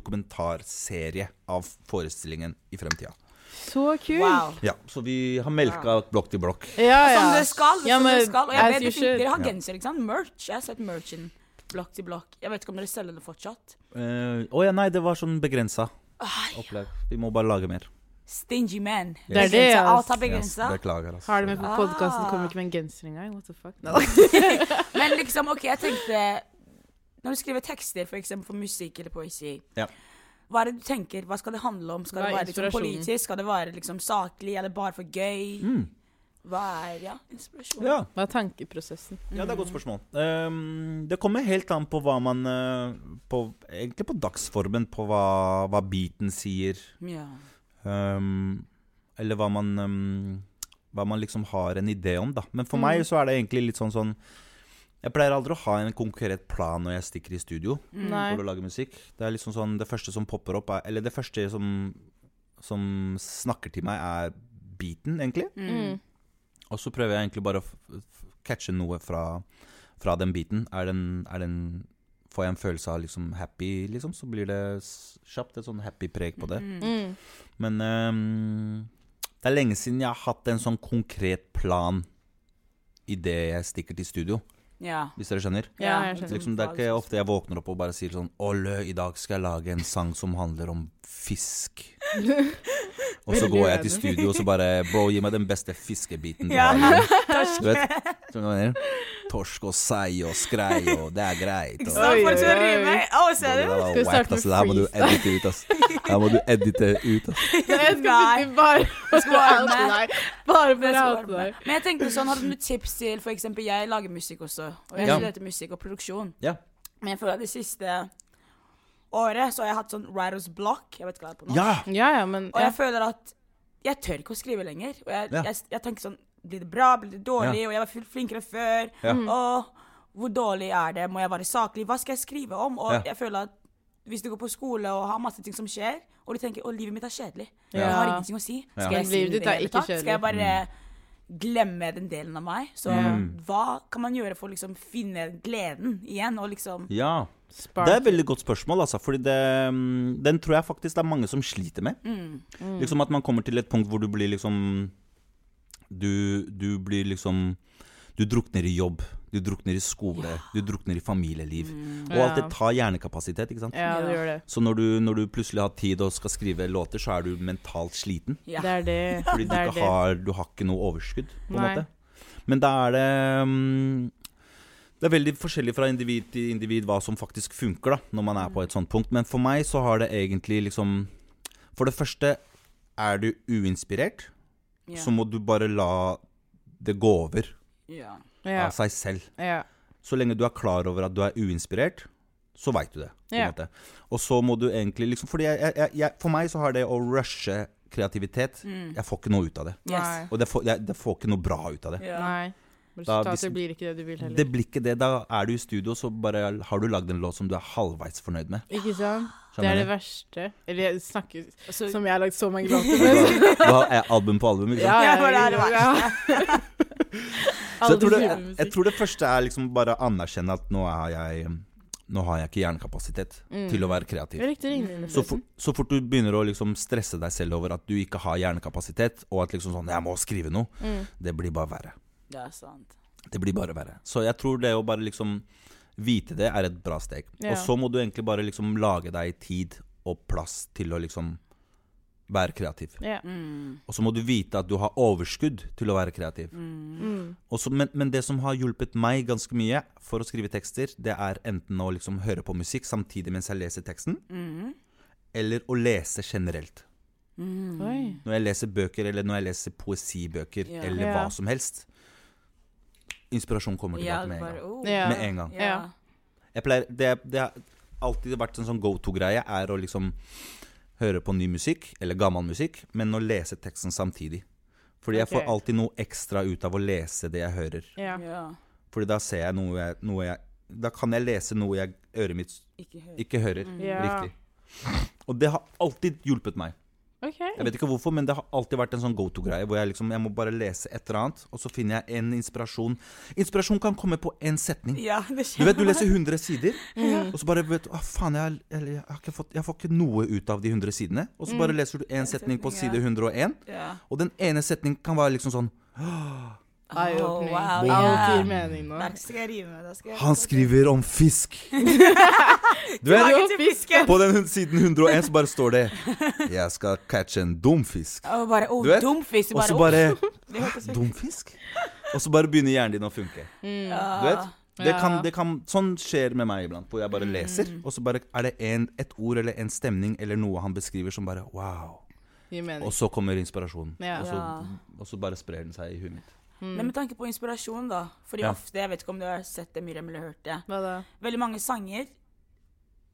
Speaker 3: dokumentarserie av forestillingen i fremtida.
Speaker 1: Så kult!
Speaker 2: Wow.
Speaker 3: Ja, så vi har melka blokk til blokk.
Speaker 1: Ja, ja.
Speaker 2: Som det skal.
Speaker 1: Ja,
Speaker 2: som
Speaker 1: men
Speaker 2: det skal. Og jeg
Speaker 1: as
Speaker 2: vet
Speaker 1: you
Speaker 2: det fin- Dere
Speaker 1: should.
Speaker 2: har genser, ikke sant? Merch. Jeg har sett merchen. Blokk til blokk. Jeg vet ikke om dere selger det fortsatt.
Speaker 3: Eh, Å ja, nei, det var sånn begrensa opplegg. Vi må bare lage mer.
Speaker 2: Stingy man.
Speaker 1: Det altså. er det, ass.
Speaker 2: Alt har begrensa.
Speaker 3: beklager, altså.
Speaker 1: Har det med på podkasten? Kommer
Speaker 2: Ah.
Speaker 1: ikke med en genser engang? What the fuck? Nei.
Speaker 2: Men liksom, OK, jeg tenkte Når du skriver tekster, for eksempel for musikk eller poesi,
Speaker 3: Ja.
Speaker 2: hva er det du tenker? Hva skal det handle om? Skal det
Speaker 1: Hva er
Speaker 2: være liksom
Speaker 1: inspirasjonen?
Speaker 2: politisk? Skal det være liksom saklig? Er det bare for gøy? Hva er Ja, inspirasjon.
Speaker 3: Mm. Ja,
Speaker 1: Hva er tankeprosessen?
Speaker 3: ja, det er et godt spørsmål. Ehm, det kommer helt an på hva man eh, på, Egentlig på dagsformen, på hva, hva beaten sier.
Speaker 2: Mm. Ja.
Speaker 3: ehm, eller hva man ehm, Hva man liksom har en idé om, da. Men for meg så er det egentlig litt sånn sånn Jeg Jeg pleier aldri å ha en konkret plan når jeg stikker i studio
Speaker 1: Nei.
Speaker 3: for å lage musikk. Det er liksom sånn Det første som popper opp, er, eller det første som, som snakker til meg, er beaten, egentlig.
Speaker 1: Mm.
Speaker 3: Og så prøver jeg egentlig bare å f f catche noe fra, fra den beaten. Er den, er den Får jeg en følelse av liksom happy, liksom, så blir det s- kjapt et sånn happy preg på det.
Speaker 1: Mm.
Speaker 3: Men ehm, det er lenge siden jeg har hatt en sånn konkret plan idet jeg stikker til studio,
Speaker 2: Ja.
Speaker 3: hvis dere skjønner.
Speaker 1: Ja, jeg skjønner.
Speaker 3: Liksom, det er ikke ofte jeg våkner opp og bare sier sånn Olle, i dag skal jeg lage en sang som handler om fisk. og så
Speaker 1: Veldig
Speaker 3: går jeg til
Speaker 1: uenig.
Speaker 3: studio og så bare Bro, gi meg den beste fiskebiten du
Speaker 2: Ja.
Speaker 3: har. Du vet? Skjønner du hva jeg mener? Torsk og sei og skrei og Det er greit.
Speaker 2: Ikke
Speaker 3: Og,
Speaker 2: sant?
Speaker 1: Oi,
Speaker 2: Folk som
Speaker 1: oi, oi.
Speaker 2: rimer. Å, ser
Speaker 3: Det
Speaker 2: du?
Speaker 3: der var
Speaker 1: Skal vi
Speaker 3: wack,
Speaker 1: starte med
Speaker 3: ass. Det her må du
Speaker 1: freestyle?
Speaker 3: edite ut, ass. Det her må du edite ut, ass.
Speaker 1: Jeg skal
Speaker 2: Mm. Nei.
Speaker 1: sitte bare og
Speaker 2: skal være
Speaker 1: oute
Speaker 2: med.
Speaker 1: deg. Bare for
Speaker 2: Det
Speaker 1: å
Speaker 2: skal
Speaker 1: oute
Speaker 2: være
Speaker 1: deg.
Speaker 2: med. Men jeg tenkte sånn, hadde du noen tips til for eksempel jeg lager musikk også, og jeg
Speaker 3: Ja.
Speaker 2: studerte musikk og produksjon.
Speaker 3: Ja.
Speaker 2: Men jeg føler at det siste året så har jeg hatt sånn writer's block, jeg vet ikke hva det er på norsk.
Speaker 3: ja.
Speaker 1: Ja, ja, men
Speaker 2: Og
Speaker 1: ja.
Speaker 2: jeg føler at jeg tør ikke å skrive lenger. Og jeg,
Speaker 3: Ja.
Speaker 2: jeg, jeg tenker sånn Blir det bra? Blir det dårlig? Og jeg var fl- flinkere før.
Speaker 3: Ja.
Speaker 2: Og hvor dårlig er det? Må jeg være saklig? Hva skal jeg skrive om? Og
Speaker 3: Ja.
Speaker 2: jeg føler at hvis du går på skole og har masse ting som skjer, og du tenker 'Å, livet mitt er kjedelig',
Speaker 1: Ja. Mm.
Speaker 2: jeg har ingenting å si. Skal
Speaker 1: Men
Speaker 2: jeg si
Speaker 1: livet
Speaker 2: noe i
Speaker 1: ditt
Speaker 2: det
Speaker 1: er
Speaker 2: hele
Speaker 1: ikke
Speaker 2: tatt? Skal
Speaker 1: kjedelig.
Speaker 2: jeg bare glemme den delen av meg? Så
Speaker 1: Mm.
Speaker 2: hva kan man gjøre for å liksom finne gleden igjen, og liksom
Speaker 3: ja.
Speaker 1: spark.
Speaker 3: Det er et veldig godt spørsmål, altså, fordi det, mm, den tror jeg faktisk det er mange som sliter med.
Speaker 2: mm,
Speaker 1: Mm.
Speaker 3: Liksom At man kommer til et punkt hvor du blir liksom Du, du blir liksom Du drukner i jobb, du drukner i skole, du drukner i familieliv.
Speaker 2: Mm.
Speaker 3: Og alt det tar hjernekapasitet, ikke sant.
Speaker 1: Ja, det gjør det.
Speaker 3: Så når du, når du plutselig har tid og skal skrive låter, så er du mentalt sliten.
Speaker 2: Ja.
Speaker 1: Det er det.
Speaker 3: Fordi du,
Speaker 1: det er
Speaker 3: ikke
Speaker 1: det.
Speaker 3: har, du har ikke noe overskudd, på en
Speaker 1: Nei.
Speaker 3: måte. Men da er det mm, Det er veldig forskjellig fra individ til individ hva som faktisk funker, da, når man er på et sånt punkt. Men for meg så har det egentlig liksom For det første, er du uinspirert,
Speaker 2: Ja.
Speaker 3: så må du bare la det gå over
Speaker 2: ja.
Speaker 1: Ja,
Speaker 3: av seg selv.
Speaker 1: ja.
Speaker 3: Så lenge du er klar over at du er uinspirert, så veit du det. på en
Speaker 1: Ja.
Speaker 3: måte. Og så må du egentlig liksom Fordi jeg, jeg, jeg, for meg så har det å rushe kreativitet Jeg får ikke noe ut av det.
Speaker 1: Nei.
Speaker 2: Mm. Yes.
Speaker 3: Og det får, jeg, det får ikke noe bra ut av det.
Speaker 2: Ja.
Speaker 1: Nei.
Speaker 3: hvis-
Speaker 1: Resultatet blir ikke det du vil
Speaker 3: Det
Speaker 1: heller.
Speaker 3: blir ikke det. Da er du i studio, så bare har du lagd en låt som du er halvveis fornøyd med.
Speaker 1: Ikke sant? Det
Speaker 3: Skjønner
Speaker 1: er det
Speaker 3: du?
Speaker 1: verste. Eller jeg snakker
Speaker 2: Så-
Speaker 1: som jeg har lagd så mange låter
Speaker 3: Du
Speaker 1: med.
Speaker 3: har- Du har eh, album på album, ikke sant?
Speaker 2: Ja, for det er det
Speaker 3: Så jeg tror, det, jeg
Speaker 1: julemusikk.
Speaker 3: tror det første er liksom bare å anerkjenne at nå er jeg Nå har jeg ikke hjernekapasitet til å være kreativ.
Speaker 1: Jeg Mm. likte ringene.
Speaker 3: Så, for, så fort du begynner å liksom stresse deg selv over at du ikke har hjernekapasitet, og at liksom sånn 'Jeg må skrive noe',
Speaker 1: Mm.
Speaker 3: det blir bare verre.
Speaker 2: Det er sant.
Speaker 3: Det blir bare verre. Så jeg tror det å bare liksom vite det er et bra steg.
Speaker 1: Ja.
Speaker 3: Og så må du egentlig bare liksom lage deg tid og plass til å liksom være kreativ.
Speaker 1: Ja.
Speaker 3: Og så må du vite at du har overskudd til å være kreativ.
Speaker 1: Mm.
Speaker 3: Og så- men, men det som har hjulpet meg ganske mye for å skrive tekster, det er enten å liksom høre på musikk samtidig mens jeg leser teksten, eller å lese generelt.
Speaker 1: Oi.
Speaker 3: Når jeg leser bøker, eller når jeg leser poesibøker,
Speaker 2: Ja.
Speaker 3: eller
Speaker 1: Ja.
Speaker 3: hva som helst. Inspirasjon kommer
Speaker 2: Ja,
Speaker 3: tilbake med en
Speaker 2: bare,
Speaker 3: gang.
Speaker 2: oh.
Speaker 1: Ja.
Speaker 3: Med en gang.
Speaker 1: Ja.
Speaker 3: Jeg pleier, det, det har alltid vært en sånn go to-greie, er å liksom høre på ny musikk, eller gammel musikk, men å lese teksten samtidig. Fordi jeg
Speaker 1: Ok.
Speaker 3: får alltid noe ekstra ut av å lese det jeg hører.
Speaker 1: Ja.
Speaker 2: Ja.
Speaker 3: Fordi da ser jeg noe jeg, noe jeg Da kan jeg lese noe jeg øret mitt
Speaker 2: Ikke hør.
Speaker 3: ikke hører
Speaker 1: Mm, Ja.
Speaker 3: riktig. Og det har alltid hjulpet meg.
Speaker 1: OK.
Speaker 3: Jeg vet ikke hvorfor, men det har alltid vært en sånn go to-greie hvor jeg liksom Jeg må bare lese et eller annet, og så finner jeg en inspirasjon. Inspirasjon kan komme på én setning.
Speaker 2: Ja, det
Speaker 3: Du
Speaker 2: skjer.
Speaker 3: vet, du leser 100 sider,
Speaker 1: Mm.
Speaker 3: og så bare vet du «Å, faen, jeg, har- eller, jeg, har ikke fått, jeg får ikke noe ut av de 100 sidene. Og så bare Mm. leser du én setning på
Speaker 2: setning,
Speaker 3: side 101,
Speaker 2: Ja.
Speaker 3: og den ene setningen kan være liksom sånn
Speaker 1: Eye-opening.
Speaker 2: Oh, wow,
Speaker 1: Alt
Speaker 2: ja.
Speaker 1: gir mening nå.
Speaker 2: Der skal jeg rive med. Da skal jeg
Speaker 3: Han skriver om fisk! Du vet,
Speaker 1: Tilbake til
Speaker 2: til fisken!
Speaker 3: på den siden 101 så bare står det 'Jeg skal catche en dum fisk'.
Speaker 2: Og bare, oh,
Speaker 3: Du vet?
Speaker 2: dum fisk.
Speaker 3: Og så bare Dum fisk? Og så bare begynner hjernen din å funke. Du vet? Det
Speaker 1: Ja.
Speaker 3: kan, det kan, sånn skjer med meg iblant, hvor jeg bare leser, og så bare er det en, et ord eller en stemning eller noe han beskriver som bare wow.
Speaker 1: Gir mening.
Speaker 3: Og så kommer inspirasjonen.
Speaker 1: Ja.
Speaker 3: Og,
Speaker 2: Ja.
Speaker 3: så, og så bare sprer den seg i huet mitt.
Speaker 1: Mm.
Speaker 2: Men med tanke på inspirasjon, da. Fordi
Speaker 3: Ja.
Speaker 2: ofte, jeg vet ikke om du har sett det, Miriam, eller hørt det.
Speaker 1: Hva da?
Speaker 2: Veldig mange sanger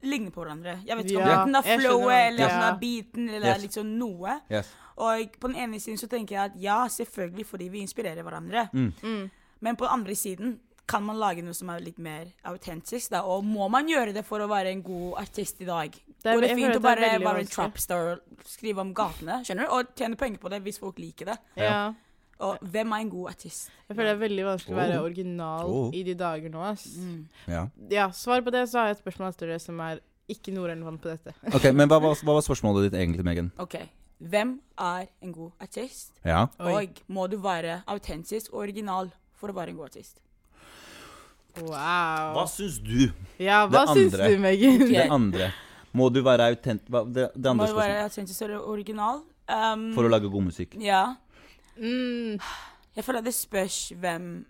Speaker 2: ligner på hverandre. Jeg vet ikke om
Speaker 1: Ja,
Speaker 2: enten det er
Speaker 1: jeg skjønner
Speaker 2: flowet,
Speaker 1: hva-
Speaker 2: eller om det
Speaker 1: Ja.
Speaker 2: er beaten, eller
Speaker 3: Yes.
Speaker 2: liksom noe.
Speaker 3: Yes.
Speaker 2: Og på den
Speaker 1: Mm.
Speaker 2: ene siden så tenker jeg at ja, selvfølgelig fordi vi inspirerer hverandre. Men på den andre siden kan man lage noe som er litt mer autentisk, da? Og må man gjøre det for å være en god artist i dag?
Speaker 1: Det er-
Speaker 2: Går det
Speaker 1: jeg
Speaker 2: fint
Speaker 1: føler
Speaker 2: å
Speaker 1: at det
Speaker 2: bare
Speaker 1: er veldig
Speaker 2: være en
Speaker 1: vanskelig.
Speaker 2: trapstar og skrive om gatene, skjønner du? Og tjene penger på det hvis folk liker det.
Speaker 1: Ja.
Speaker 2: Og hvem er en god artist?
Speaker 1: Jeg føler det er veldig vanskelig å være
Speaker 3: Oh.
Speaker 1: original
Speaker 3: Oh.
Speaker 1: i de dager nå. Ass.
Speaker 2: Mm.
Speaker 3: Ja.
Speaker 1: Ja, svar på det, så har jeg et spørsmål til dere som er ikke noe relevant på dette.
Speaker 3: Ok, Men hva, var- hva var spørsmålet ditt egentlig, Megan?
Speaker 2: OK. Hvem er en god artist?
Speaker 3: Ja.
Speaker 1: Oi.
Speaker 2: Og må du være autentisk og original for å være en god artist?
Speaker 1: Wow.
Speaker 3: Hva syns du?
Speaker 1: Ja,
Speaker 3: Det
Speaker 1: hva syns
Speaker 3: andre.
Speaker 1: du, Megan?
Speaker 2: Ok.
Speaker 3: Det andre. Må du være autent... hva- Det, det
Speaker 2: Må
Speaker 3: andre
Speaker 2: du være
Speaker 3: spørsmålet.
Speaker 2: autentisk og original? Um,
Speaker 3: For å lage god musikk.
Speaker 2: Ja.
Speaker 1: Mm.
Speaker 2: Jeg føler det spørs hvem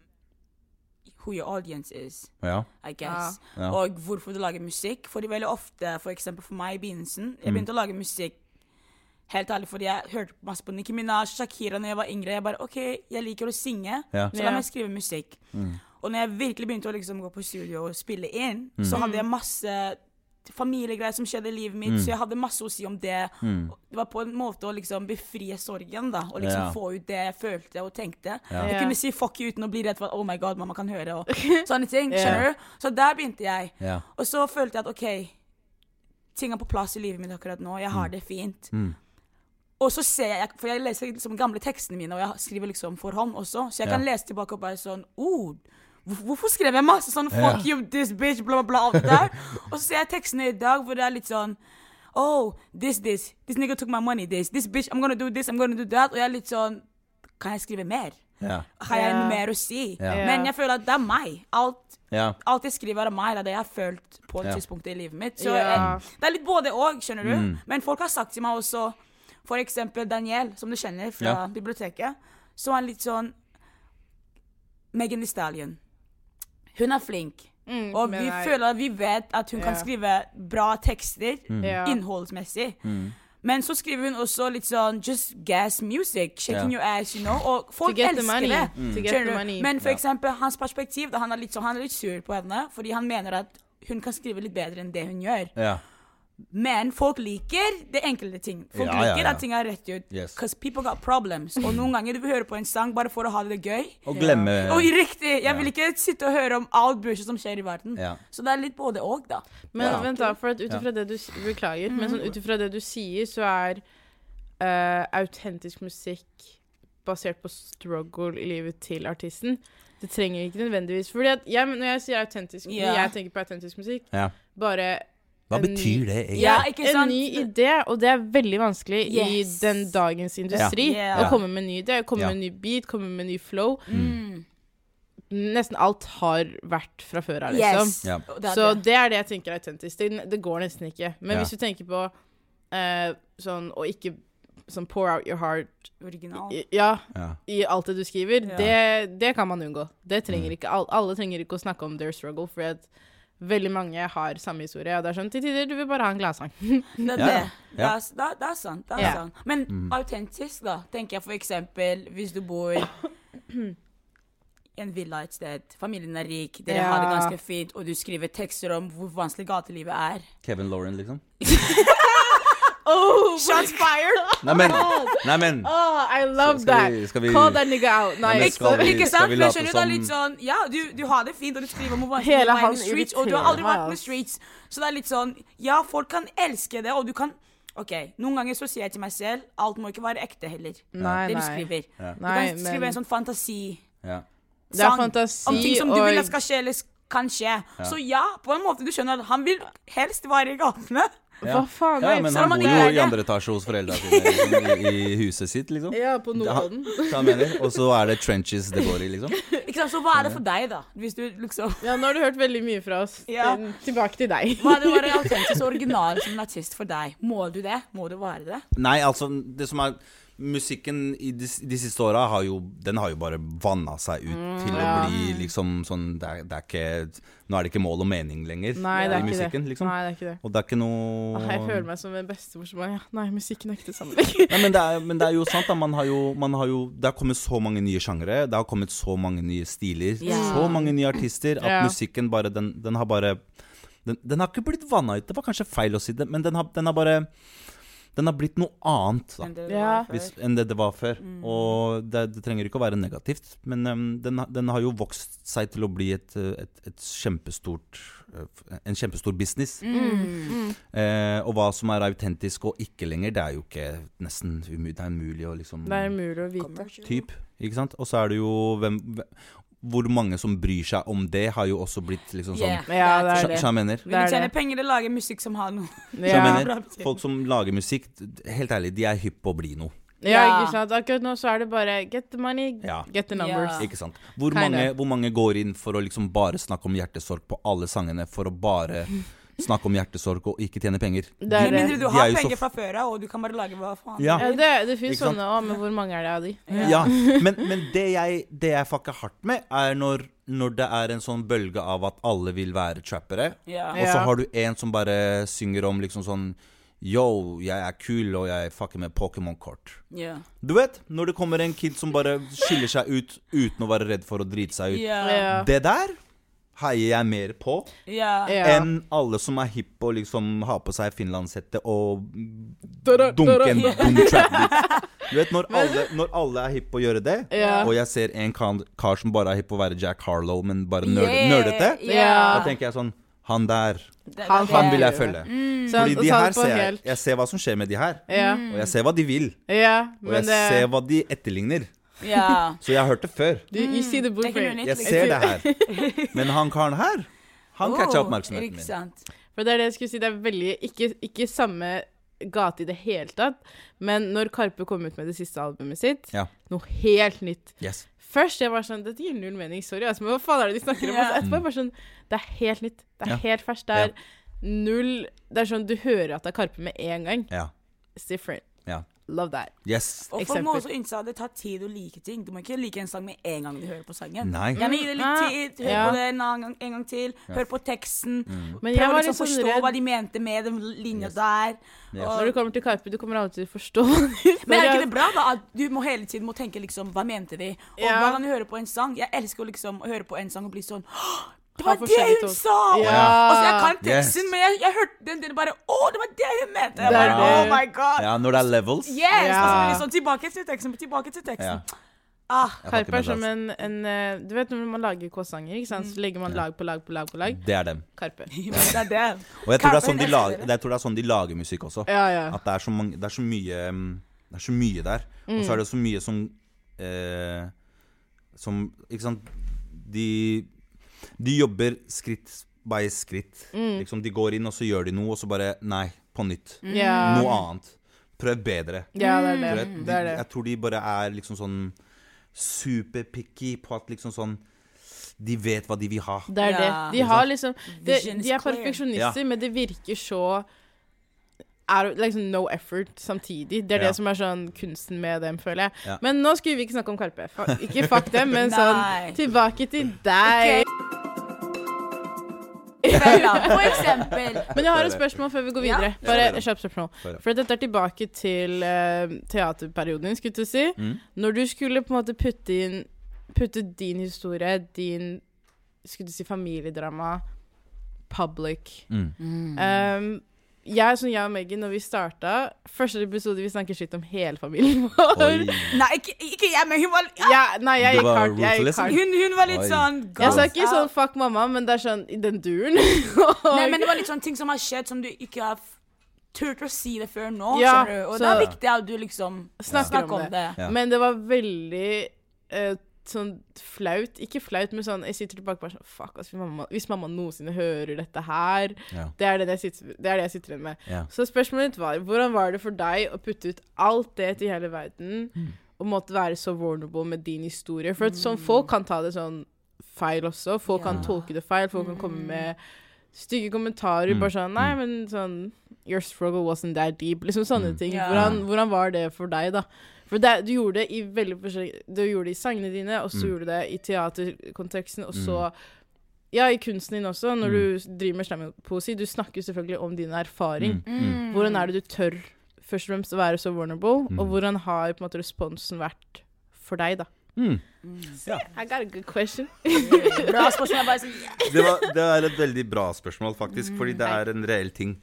Speaker 2: Who your audience is,
Speaker 3: Ja.
Speaker 2: I guess.
Speaker 3: Ja.
Speaker 2: Og hvorfor du lager musikk. Fordi veldig ofte, for eksempel for meg i begynnelsen Jeg
Speaker 3: Mm.
Speaker 2: begynte å lage musikk helt ærlig fordi jeg hørte masse på Nicki Minaj, Shakira når jeg var yngre. Jeg bare OK, jeg liker å synge,
Speaker 3: Ja.
Speaker 2: så
Speaker 1: Ja.
Speaker 2: la meg skrive musikk.
Speaker 3: Mm.
Speaker 2: Og når jeg virkelig begynte å liksom gå på studio og spille inn,
Speaker 3: Mm.
Speaker 2: så hadde jeg masse familiegreier som skjedde i livet
Speaker 3: Mm.
Speaker 2: mitt, så jeg hadde masse å si om det. Og Det var på en måte å liksom befrie sorgen, da, og liksom
Speaker 3: Ja.
Speaker 2: få ut det jeg følte og tenkte.
Speaker 1: Ja.
Speaker 2: Jeg kunne si fuck you uten å bli redd for at oh my god, mamma kan høre, og sånne ting. Skjønner du? Så der begynte jeg.
Speaker 3: Ja.
Speaker 2: Og så følte jeg at OK, ting er på plass i livet mitt akkurat nå. Jeg har det fint.
Speaker 3: Mm.
Speaker 2: Og så ser jeg, for jeg leser liksom gamle tekstene mine, og jeg skriver liksom for hånd også, så jeg kan
Speaker 3: Ja.
Speaker 2: lese tilbake og bare sånn oh, hvor- Hvorfor skrev jeg masse sånn fuck you, this bitch, bla, bla, bla, alt det der? og så ser jeg tekstene i dag hvor det er litt sånn Oh, this, this. This nigga took my money, this. This bitch, I'm gonna do this, I'm gonna do that. Og jeg er litt sånn Kan jeg skrive mer?
Speaker 3: Ja.
Speaker 2: Har jeg
Speaker 1: Ja.
Speaker 2: noe mer å si?
Speaker 3: Ja.
Speaker 2: Men jeg føler at det er meg. Alt
Speaker 3: ja.
Speaker 2: alt jeg skriver om meg, det er det jeg har følt på et
Speaker 3: Ja.
Speaker 2: tidspunkt i livet mitt. Så
Speaker 1: Ja.
Speaker 2: jeg, det er litt både òg, skjønner du.
Speaker 3: Mm.
Speaker 2: Men folk har sagt til meg også, for eksempel Daniel, som du kjenner fra
Speaker 3: Ja.
Speaker 2: biblioteket, så er han litt sånn Megan Thee Stallion. Hun er flink.
Speaker 1: Mm,
Speaker 2: Og
Speaker 1: men
Speaker 2: vi
Speaker 1: nei.
Speaker 2: føler at vi vet at hun kan
Speaker 1: Ja.
Speaker 2: skrive bra tekster
Speaker 3: Mm.
Speaker 1: Ja.
Speaker 2: innholdsmessig. Men så skriver hun også litt sånn Just gas music. Shaking
Speaker 3: Ja.
Speaker 2: your ass, you know. Og
Speaker 1: To
Speaker 2: folk
Speaker 1: get the
Speaker 2: elsker
Speaker 1: money.
Speaker 2: det.
Speaker 1: To get
Speaker 2: Skjønner
Speaker 1: the
Speaker 2: du?
Speaker 1: money.
Speaker 2: Men for
Speaker 3: Ja.
Speaker 2: eksempel hans perspektiv, da han er litt, sånn- han er litt sur på henne fordi han mener at hun kan skrive litt bedre enn det hun gjør.
Speaker 3: ja.
Speaker 2: Men folk liker det enkelte ting. Folk
Speaker 3: Ja, ja,
Speaker 2: liker
Speaker 3: ja.
Speaker 2: at ting er rett ut.
Speaker 3: Yes.
Speaker 2: Cause people got problems. Og noen ganger du vil høre på en sang bare for å ha det gøy.
Speaker 3: Og glemme
Speaker 2: Og riktig! Jeg vil ikke sitte og høre om alt bullshit som skjer i verden.
Speaker 3: Ja.
Speaker 2: Så det er litt både og, da.
Speaker 1: Men
Speaker 3: Ja.
Speaker 1: vent da, for at ut ifra det du s- Beklager, men
Speaker 2: Mm.
Speaker 1: sånn ut ifra det du sier, så er eh, autentisk musikk basert på struggle i livet til artisten. Det trenger ikke nødvendigvis Fordi at jeg, Når jeg sier autentisk
Speaker 2: Ja.
Speaker 1: Når jeg tenker på autentisk musikk,
Speaker 3: Ja.
Speaker 1: bare
Speaker 3: Hva
Speaker 1: En ny-
Speaker 3: betyr det egentlig?
Speaker 2: Um, Ja, ikke sant?
Speaker 1: en ny idé, og det er veldig vanskelig
Speaker 2: Yes.
Speaker 1: i den dagens industri
Speaker 2: Ja.
Speaker 1: å
Speaker 2: Ja.
Speaker 1: komme med en ny idé, komme
Speaker 3: Ja.
Speaker 1: med en ny beat, komme med en ny flow.
Speaker 2: Mm.
Speaker 1: Nesten alt har vært fra før av, liksom.
Speaker 2: Yes.
Speaker 3: Ja.
Speaker 2: Og det er
Speaker 1: Så
Speaker 2: det.
Speaker 1: det er det jeg tenker er autentisk. Det, det går nesten ikke. Men
Speaker 3: Ja.
Speaker 1: hvis du tenker på eh, sånn å ikke sånn pour out your heart
Speaker 2: Original.
Speaker 1: i, ja,
Speaker 3: Ja.
Speaker 1: i alt det du skriver,
Speaker 2: Ja.
Speaker 1: det, det kan man unngå. Det
Speaker 3: Mm.
Speaker 1: trenger ikke al- Alle trenger ikke å snakke om their struggle, for at veldig mange har samme historie. Og det er sånn til tider du vil bare ha en gladsang.
Speaker 2: Det er
Speaker 3: Ja, ja. Mm.
Speaker 2: det. Det
Speaker 3: Ja.
Speaker 2: er, s- det, er- det er sant. Det er
Speaker 1: Ja.
Speaker 2: sant. Men autentisk, da, tenker jeg for eksempel hvis du bor i en villa et sted, familien er rik, dere
Speaker 1: Ja.
Speaker 2: har det ganske fint, og du skriver tekster om hvor vanskelig gatelivet er.
Speaker 3: Kevin Lauren, liksom?
Speaker 1: Oh,
Speaker 2: Shots fired!
Speaker 3: Nei, men! Nei, men.
Speaker 2: Ah,
Speaker 1: I love
Speaker 3: Skal
Speaker 1: that!
Speaker 3: vi- skal vi-
Speaker 1: Call that nigga out. Nei,
Speaker 3: men
Speaker 1: ikke
Speaker 3: skal
Speaker 1: sant?
Speaker 3: vi-
Speaker 2: Ikke
Speaker 3: skal
Speaker 2: sant?
Speaker 3: vi
Speaker 2: Men
Speaker 3: late
Speaker 2: skjønner du, det er litt
Speaker 3: som-
Speaker 2: sånn Ja, du, du har det fint, og du skriver om hvor vanskelig
Speaker 1: Hele
Speaker 2: det er
Speaker 1: han
Speaker 2: i the streets, og du har aldri
Speaker 1: irriterer meg,
Speaker 2: vært med
Speaker 1: ass.
Speaker 2: streets. Så det er litt sånn Ja, folk kan elske det, og du kan OK, noen ganger så sier jeg til meg selv alt må ikke være ekte heller.
Speaker 1: Nei,
Speaker 2: Det du
Speaker 1: nei.
Speaker 2: skriver. Du
Speaker 1: Nei,
Speaker 2: kan
Speaker 1: men-
Speaker 2: skrive en sånn fantasi.
Speaker 3: Ja.
Speaker 1: Det er
Speaker 2: sang
Speaker 1: fantasi
Speaker 2: om ting som du
Speaker 1: og-
Speaker 2: vil at skal skje, eller kan skje. Så ja, på en måte, du skjønner at han vil helst være i gatene.
Speaker 3: Ja.
Speaker 1: Hva faen?
Speaker 3: Ja,
Speaker 1: nei,
Speaker 3: men
Speaker 1: så
Speaker 3: han
Speaker 1: man
Speaker 3: bor
Speaker 1: ikke
Speaker 3: jo
Speaker 1: er
Speaker 3: i
Speaker 1: det.
Speaker 3: andre etasje hos foreldra sine liksom, i, i huset sitt, liksom.
Speaker 1: Ja, på Nordodden.
Speaker 3: Ja, så han mener. Og så er det trenches det går i, liksom.
Speaker 2: Ikke sant? Så hva er det for deg, da? Hvis du liksom
Speaker 1: Ja, nå har du hørt veldig mye fra oss.
Speaker 2: Ja.
Speaker 1: Til- Tilbake til deg.
Speaker 2: Hva er det å være autentisk og original som en artist for deg? Må du det? Må du være det?
Speaker 3: Nei, altså, det som er Musikken i de, de siste åra har jo Den har jo bare vanna seg ut til å
Speaker 1: Mm, Ja.
Speaker 3: bli liksom sånn det er, det er ikke Nå er det ikke mål og mening lenger
Speaker 1: Nei, det er
Speaker 3: i
Speaker 1: ikke
Speaker 3: musikken,
Speaker 1: det.
Speaker 3: liksom.
Speaker 1: Nei, det er ikke det.
Speaker 3: Og det er ikke noe
Speaker 1: Åh, Jeg føler meg som en bestemor som bare ja, Nei, musikken er ikke det samme.
Speaker 3: Nei, men, det er, men det er jo sant, da. Man har jo, man har jo, det har kommet så mange nye sjangere. Det har kommet så mange nye stiler.
Speaker 2: Ja.
Speaker 3: Så mange nye artister. At
Speaker 1: Ah. Ja.
Speaker 3: musikken bare Den, den har bare den, den har ikke blitt vanna ut. Det var kanskje feil å si det, men den har, den har bare Den har blitt noe annet da,
Speaker 2: enn det det
Speaker 1: Ja.
Speaker 2: var før.
Speaker 3: hvis, enn det det var før.
Speaker 1: Mm.
Speaker 3: Og det, det trenger ikke å være negativt, men eh, den, har- den har jo vokst seg til å bli et, eh, et, et kjempestort, eh, en kjempestor business.
Speaker 1: Mm.
Speaker 2: Mm.
Speaker 3: Eh, og hva som er autentisk og ikke lenger, det er jo ikke nesten umu- det er umulig å liksom
Speaker 1: Det er umulig å vite.
Speaker 2: Commercial.
Speaker 3: Typ, ikke sant? Og så er det jo hvem, hvem- Hvor mange som bryr seg om det, har jo også blitt liksom sånn
Speaker 2: Yeah,
Speaker 3: yeah.
Speaker 1: Ja, det er
Speaker 3: Skjønner jeg mener?
Speaker 1: Det
Speaker 2: Vil du
Speaker 1: er
Speaker 2: tjene
Speaker 1: det.
Speaker 2: penger eller lage musikk som har noe?
Speaker 3: Skjønner jeg
Speaker 1: Ja.
Speaker 2: bra
Speaker 3: mener? Folk som lager musikk, helt ærlig, de er hypp på å bli noe.
Speaker 1: ja,
Speaker 2: Ja.
Speaker 1: ikke sant. Akkurat nå så er det bare get the money,
Speaker 3: Ja.
Speaker 1: get the numbers.
Speaker 2: Ja.
Speaker 3: Ikke sant? Hvor
Speaker 1: Kinda.
Speaker 3: mange, hvor mange går inn for å liksom bare snakke om hjertesorg på alle sangene, for å bare snakke om hjertesorg og ikke tjene penger?
Speaker 1: Det er det.
Speaker 2: Med mindre du
Speaker 3: eh, De er
Speaker 2: har
Speaker 3: jo så
Speaker 2: penger
Speaker 3: f-
Speaker 2: fra før av, og du kan bare lage hva faen.
Speaker 3: Ja.
Speaker 1: Ja, det, det fins
Speaker 3: Ikke sant?
Speaker 1: sånne òg, men hvor mange er det av de?
Speaker 3: Ja, men, men det, jeg, det jeg fucker hardt med, er når, når det er en sånn bølge av at alle vil være trappere,
Speaker 2: Ja.
Speaker 3: og så
Speaker 1: Ja.
Speaker 3: har du en som bare synger om liksom sånn Yo, jeg er kul, og jeg fucker med Pokémon-kort.
Speaker 2: Ja.
Speaker 3: Du vet, når det kommer en kid som bare skiller seg ut uten å være redd for å drite seg ut.
Speaker 2: Ja.
Speaker 1: Ja.
Speaker 3: Det der heier jeg mer på
Speaker 2: Ja.
Speaker 1: Ja.
Speaker 3: enn alle som er hipp og liksom har på seg finlandshette og
Speaker 1: Da-da,
Speaker 3: dunke en
Speaker 1: da-da.
Speaker 3: dum trap-beat. Du vet, når alle, når alle er hipp på å gjøre det,
Speaker 1: Ja.
Speaker 3: og jeg ser en kan, kar som bare er hipp på å være Jack Harlow, men bare nerd, nerdete, da
Speaker 1: Ja.
Speaker 3: tenker jeg sånn Han der,
Speaker 2: Det-
Speaker 1: Han
Speaker 2: det-
Speaker 1: fucker
Speaker 3: han vil jeg
Speaker 1: du.
Speaker 3: følge.
Speaker 1: Så han-
Speaker 3: Fordi de
Speaker 1: Sånn, så han
Speaker 3: her
Speaker 1: på
Speaker 3: ser jeg,
Speaker 1: helt-
Speaker 3: jeg ser hva som skjer med de her.
Speaker 1: Ja,
Speaker 2: Mm.
Speaker 3: Og jeg ser hva de vil,
Speaker 1: ja
Speaker 3: og
Speaker 1: men
Speaker 3: jeg ser
Speaker 1: det
Speaker 3: hva de etterligner.
Speaker 2: Ja.
Speaker 3: Så jeg har hørt det før.
Speaker 1: du, You see the
Speaker 2: Det er ikke noe
Speaker 1: blueprint.
Speaker 2: nytt.
Speaker 3: Jeg
Speaker 2: liksom.
Speaker 3: ser det her. Men han karen her, han catcha
Speaker 2: Oh,
Speaker 3: oppmerksomheten
Speaker 2: Ikke
Speaker 3: min.
Speaker 2: sant.
Speaker 1: For det er det jeg skulle si, det er veldig Ikke, ikke samme gate i det hele tatt, men når Karpe kom ut med det siste albumet sitt,
Speaker 3: Ja.
Speaker 1: noe helt nytt
Speaker 3: Yes.
Speaker 1: Først jeg var sånn Dette gir null mening, sorry, altså, men hva faen er det de snakker om?
Speaker 2: Ja.
Speaker 1: Og så etterpå er jeg bare sånn Det er helt nytt. Det er
Speaker 3: Mm. Ja.
Speaker 1: helt ferskt. Det er null Det er sånn du hører at det er Karpe med en gang.
Speaker 3: Ja.
Speaker 1: It's different.
Speaker 3: ja.
Speaker 1: Love that.
Speaker 3: Yes.
Speaker 2: Og for
Speaker 1: Eksempel.
Speaker 2: mange som innser at det tar tid å like ting. Du må ikke like en sang med en gang du hører på sangen.
Speaker 3: Nei.
Speaker 2: Gjerne gi det litt
Speaker 1: Mm,
Speaker 2: tid,
Speaker 1: ja.
Speaker 2: hør
Speaker 1: Ja.
Speaker 2: på det en, annen gang, en gang til. Hør på teksten.
Speaker 1: Men
Speaker 2: Prøv
Speaker 1: jeg
Speaker 2: å
Speaker 1: var
Speaker 2: liksom
Speaker 1: litt sånn
Speaker 2: forstå hva
Speaker 1: redd
Speaker 2: de mente med den linja der.
Speaker 3: Mm. Yes.
Speaker 2: Og-
Speaker 1: når du kommer til Karpe, du kommer aldri til å forstå. det.
Speaker 2: men er ikke det bra da at du må hele tiden må tenke liksom, hva mente de? Og
Speaker 1: Ja.
Speaker 2: hver gang du hører på en sang Jeg elsker å liksom å høre på en sang og bli sånn «Åh, Det
Speaker 1: Ha
Speaker 2: var det
Speaker 1: forskjellig
Speaker 2: hun
Speaker 1: tolk-
Speaker 2: sa!
Speaker 1: Ja.
Speaker 2: Altså, jeg kan teksten,
Speaker 3: Yes.
Speaker 2: men jeg, jeg hørte den delen bare Å, det var det hun mente! Jeg
Speaker 1: Det er
Speaker 2: bare,
Speaker 1: det.
Speaker 2: Oh my god!
Speaker 3: Ja, når det er levels.
Speaker 2: Yes!
Speaker 1: Ja.
Speaker 2: Og så blir det sånn tilbake til teksten, tilbake til
Speaker 3: Ja.
Speaker 2: teksten. Ah,
Speaker 3: Jeg fucker
Speaker 1: Karpe
Speaker 3: med
Speaker 1: er som
Speaker 3: det,
Speaker 1: en, en eh, Du vet når man lager kåsanger, ikke
Speaker 2: Mm.
Speaker 1: sant? Så legger man lag på lag på lag på lag.
Speaker 3: altså. Det er dem.
Speaker 1: Karpe.
Speaker 2: det er det.
Speaker 3: Og jeg tror, det er
Speaker 2: Karpe
Speaker 3: sånn de
Speaker 2: er
Speaker 3: lager,
Speaker 2: neste.
Speaker 3: jeg tror det er sånn de lager musikk også.
Speaker 1: Ja, ja.
Speaker 3: At det er så, mange, det er så mye mm, Det er så mye der. Og
Speaker 1: Mm.
Speaker 3: så er det så mye som eh, Som Ikke sant De De jobber skritt by skritt.
Speaker 1: Mm.
Speaker 3: Liksom, de går inn, og så gjør de noe, og så bare Nei, på nytt.
Speaker 2: Mm,
Speaker 1: Ja,
Speaker 3: Noe annet. Prøv bedre.
Speaker 1: ja det
Speaker 3: Du
Speaker 1: er det. Mm.
Speaker 3: vet,
Speaker 1: det, er
Speaker 3: de,
Speaker 1: det.
Speaker 3: jeg tror de bare er liksom sånn superpicky på at liksom sånn De vet hva de vil ha.
Speaker 1: Det er det.
Speaker 2: Ja.
Speaker 1: De har liksom De,
Speaker 2: Vision is
Speaker 1: de er
Speaker 2: clear.
Speaker 1: perfeksjonister,
Speaker 3: Ja.
Speaker 1: men det virker så er liksom no effort samtidig. Det er
Speaker 3: Ja.
Speaker 1: det som er sånn kunsten med dem, føler jeg.
Speaker 3: Ja.
Speaker 1: Men nå skulle vi ikke snakke om Karpe. Fa- Ikke fuck dem, men
Speaker 2: Nei.
Speaker 1: sånn Tilbake til deg.
Speaker 2: Bella, for eksempel.
Speaker 1: Men jeg har et spørsmål før vi går
Speaker 2: Ja.
Speaker 1: videre. Bare et kjapt spørsmål.
Speaker 3: Bare.
Speaker 1: For dette er tilbake til eh, teaterperioden din, skulle du si.
Speaker 3: Mm.
Speaker 1: Når du skulle på en måte putte inn Putte din historie, din skulle du si familiedrama, public
Speaker 3: Mm.
Speaker 2: Mm.
Speaker 1: Ehm, jeg, sånn, jeg og Megan, når vi starta Første episode vi snakker skitt om hele familien vår.
Speaker 3: Oi.
Speaker 2: Nei, ikke, ikke jeg, men hun var ja,
Speaker 1: Ja, nei, jeg
Speaker 3: Du
Speaker 1: gikk
Speaker 3: var liksom?
Speaker 1: hardt. Jeg, gikk
Speaker 3: ruthless,
Speaker 1: hardt.
Speaker 2: hun, hun var litt
Speaker 3: Oi.
Speaker 2: sånn
Speaker 1: jeg sa
Speaker 2: gass
Speaker 1: ikke sånn
Speaker 2: out.
Speaker 1: 'fuck mamma', men det er sånn i den duren.
Speaker 2: Nei, men det var litt sånn ting som har skjedd som du ikke har f- turt å si det før nå.
Speaker 1: Ja,
Speaker 2: skjønner du? Og
Speaker 1: så-
Speaker 2: det er viktig at du liksom
Speaker 1: Snakker om
Speaker 2: snakker om
Speaker 1: det.
Speaker 2: det.
Speaker 3: Ja.
Speaker 1: Men det var veldig eh, sånn flaut. Ikke flaut, men sånn Jeg sitter tilbake bare sånn Fuck, ass, hvis mamma, hvis mamma noensinne hører dette her
Speaker 3: Ja.
Speaker 1: det, er det, jeg sitter, det er det jeg sitter igjen med.
Speaker 3: Ja.
Speaker 1: Så spørsmålet mitt var hvordan var det for deg å putte ut alt det til hele verden, og måtte være så vulnerable med din historie? For at sånn, folk kan ta det sånn feil også. Folk kan tolke det feil. Folk kan komme med stygge kommentarer. Bare sånn Nei, men sånn Your struggle wasn't that deep. Liksom sånne ting.
Speaker 2: Ja.
Speaker 1: Hvordan, hvordan var det for deg, da? For det, du gjorde det i veldig forskjellig Du gjorde det i sangene dine, og så gjorde du det i teaterkonteksten, og så Ja, i kunsten din også, når du driver med slampoesi. Du snakker jo selvfølgelig om din
Speaker 3: Mm.
Speaker 1: erfaring.
Speaker 2: Mm.
Speaker 1: Hvordan er det du tør først og fremst å være så vulnerable,
Speaker 3: Mm.
Speaker 1: og hvordan har på en måte responsen vært for deg, da?
Speaker 3: Mm. Ja.
Speaker 1: I got a good question.
Speaker 2: Mm. Bra spørsmål. Jeg bare sånn, yeah.
Speaker 3: Det, var, det er et veldig bra spørsmål, faktisk, fordi det er en reell ting.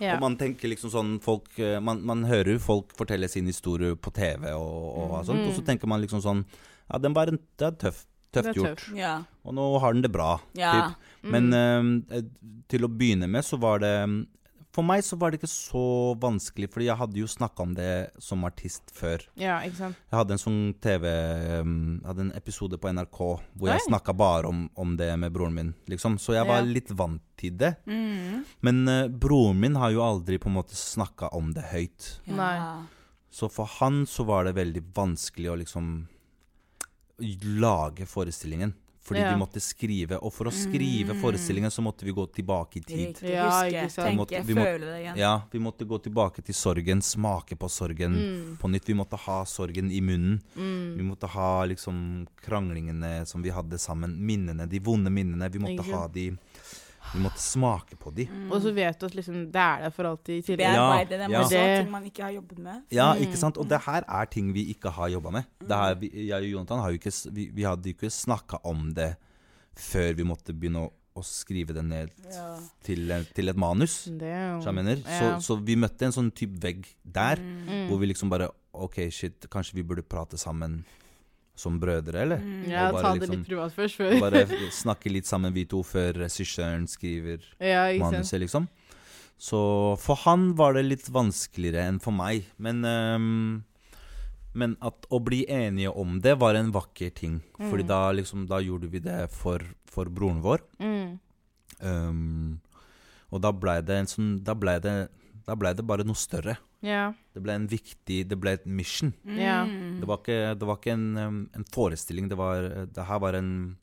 Speaker 1: Ja.
Speaker 3: Og man tenker liksom sånn folk, eh, man, man hører jo folk fortelle sin historie på TV og, og sånt, og så tenker man liksom sånn Ja, den var en, det er tøff, tøft
Speaker 1: Mm. Det er
Speaker 3: gjort.
Speaker 1: tøft. Mm.
Speaker 2: Ja.
Speaker 3: Og nå har den det bra.
Speaker 2: Ja.
Speaker 3: Typ. Men eh, til å begynne med så var det For meg så var det ikke så vanskelig, fordi jeg hadde jo snakka om det som artist før.
Speaker 1: Ja, ikke sant.
Speaker 3: Jeg hadde en sånn TV um, Hadde en episode på NRK hvor jeg
Speaker 1: Oi.
Speaker 3: snakka bare om, om det med broren min, liksom. Så jeg var
Speaker 1: Ja.
Speaker 3: litt vant til det.
Speaker 2: Mm.
Speaker 3: Men eh, broren min har jo aldri på en måte snakka om det høyt.
Speaker 2: Ja.
Speaker 1: Nei.
Speaker 3: Så for han så var det veldig vanskelig å liksom lage forestillingen. Fordi
Speaker 1: Ja. Mm.
Speaker 3: vi måtte skrive, og for å skrive forestillingen så måtte vi gå tilbake i tid.
Speaker 2: Riktig.
Speaker 1: Ja,
Speaker 2: Huske,
Speaker 1: ikke sant.
Speaker 3: Vi
Speaker 2: tenke,
Speaker 3: måtte- vi må-
Speaker 2: føle det igjen.
Speaker 3: Ja, vi måtte gå tilbake til sorgen, smake på sorgen
Speaker 1: Mm.
Speaker 3: på nytt. Vi måtte ha sorgen i munnen. Mm. Vi måtte ha liksom kranglingene som vi hadde sammen, minnene, de vonde minnene. Vi måtte
Speaker 1: Ikke
Speaker 3: ha de Vi måtte smake på de.
Speaker 1: Og så vet du at liksom, det er der for alltid i tillegg.
Speaker 2: Mm. Bearbeide dem
Speaker 3: Ja.
Speaker 2: også,
Speaker 1: Det-
Speaker 2: ting man ikke har jobbet med.
Speaker 3: Ja, ikke sant? Og det her er ting vi ikke har jobba med. Det her, vi, jeg og Jonathan har jo ikke, s- vi, vi hadde jo ikke snakka om det før vi måtte begynne å, å skrive det ned
Speaker 2: Ja.
Speaker 3: til, til et manus.
Speaker 1: Sånn Det er jo
Speaker 3: Så, jeg mener. Så,
Speaker 1: Ja.
Speaker 3: så vi møtte en sånn type vegg der,
Speaker 2: Mm.
Speaker 1: Mm.
Speaker 3: hvor vi liksom bare OK, shit, kanskje vi burde prate sammen som brødre, eller?
Speaker 1: Ja,
Speaker 3: Og bare
Speaker 1: ta det
Speaker 3: liksom-
Speaker 1: litt privat først. Før.
Speaker 3: Bare snakke litt sammen, vi to, før regissøren skriver
Speaker 1: ja, ikke sant.
Speaker 3: manuset, liksom. Så for han var det litt vanskeligere enn for meg. Men, ehm, men at å bli enige om det var en vakker ting. Fordi da, liksom, da gjorde vi det for, for broren vår.
Speaker 1: Mm.
Speaker 3: Ehm, og da blei det en sånn Da blei det, da ble det bare noe større.
Speaker 1: Ja.
Speaker 3: Det ble en viktig Det ble et mission.
Speaker 1: ja.
Speaker 2: Mm.
Speaker 1: Mm.
Speaker 3: Det var ikke, det var ikke en, ehm, en forestilling. Det, var, det her var en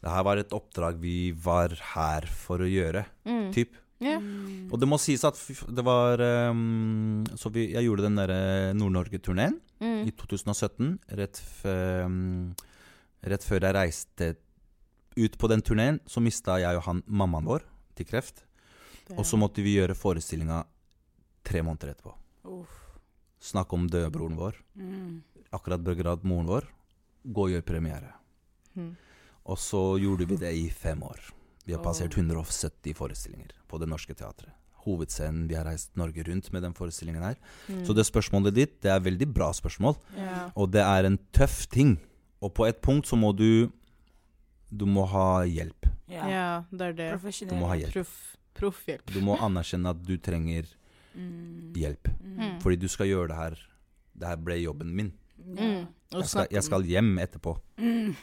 Speaker 3: Det her var et oppdrag vi var her for å gjøre,
Speaker 1: Mm.
Speaker 3: typ.
Speaker 1: ja.
Speaker 2: Mm.
Speaker 3: Og det må sies at f- det var ehm, Så vi, jeg gjorde den derre Nord-Norge-turneen
Speaker 1: Mm.
Speaker 3: i 2017. Rett, f, ehm, rett før jeg reiste ut på den turneen, så mista jeg og han mammaen vår til kreft. Og så måtte vi gjøre forestillinga tre måneder etterpå.
Speaker 2: Uff.
Speaker 3: Snakke om dødbroren vår.
Speaker 2: Mm.
Speaker 3: Akkurat begradd moren vår. Gå og gjør premiere.
Speaker 1: Mhm.
Speaker 3: Og så gjorde vi det i fem år. Vi har
Speaker 2: Åh.
Speaker 3: passert 170 forestillinger på Det Norske Teatret. Hovedscenen, vi har reist Norge rundt med den forestillingen her.
Speaker 1: Mm.
Speaker 3: Så det spørsmålet ditt, det er veldig bra spørsmål.
Speaker 1: Ja.
Speaker 3: Og det er en tøff ting. Og på et punkt så må du Du må ha hjelp.
Speaker 2: Ja.
Speaker 1: ja, det er det.
Speaker 3: Du må ha
Speaker 2: Profesjonell.
Speaker 3: Ah, hjelp.
Speaker 1: Proff. Proffhjelp.
Speaker 3: Du må anerkjenne at du trenger
Speaker 2: Mm.
Speaker 3: hjelp.
Speaker 1: Mm.
Speaker 3: Fordi du skal gjøre det her. Det her ble jobben min.
Speaker 1: Mm.
Speaker 2: Ja.
Speaker 1: Og
Speaker 3: Jeg skal,
Speaker 1: snakke
Speaker 3: jeg skal hjem etterpå.
Speaker 2: Mm.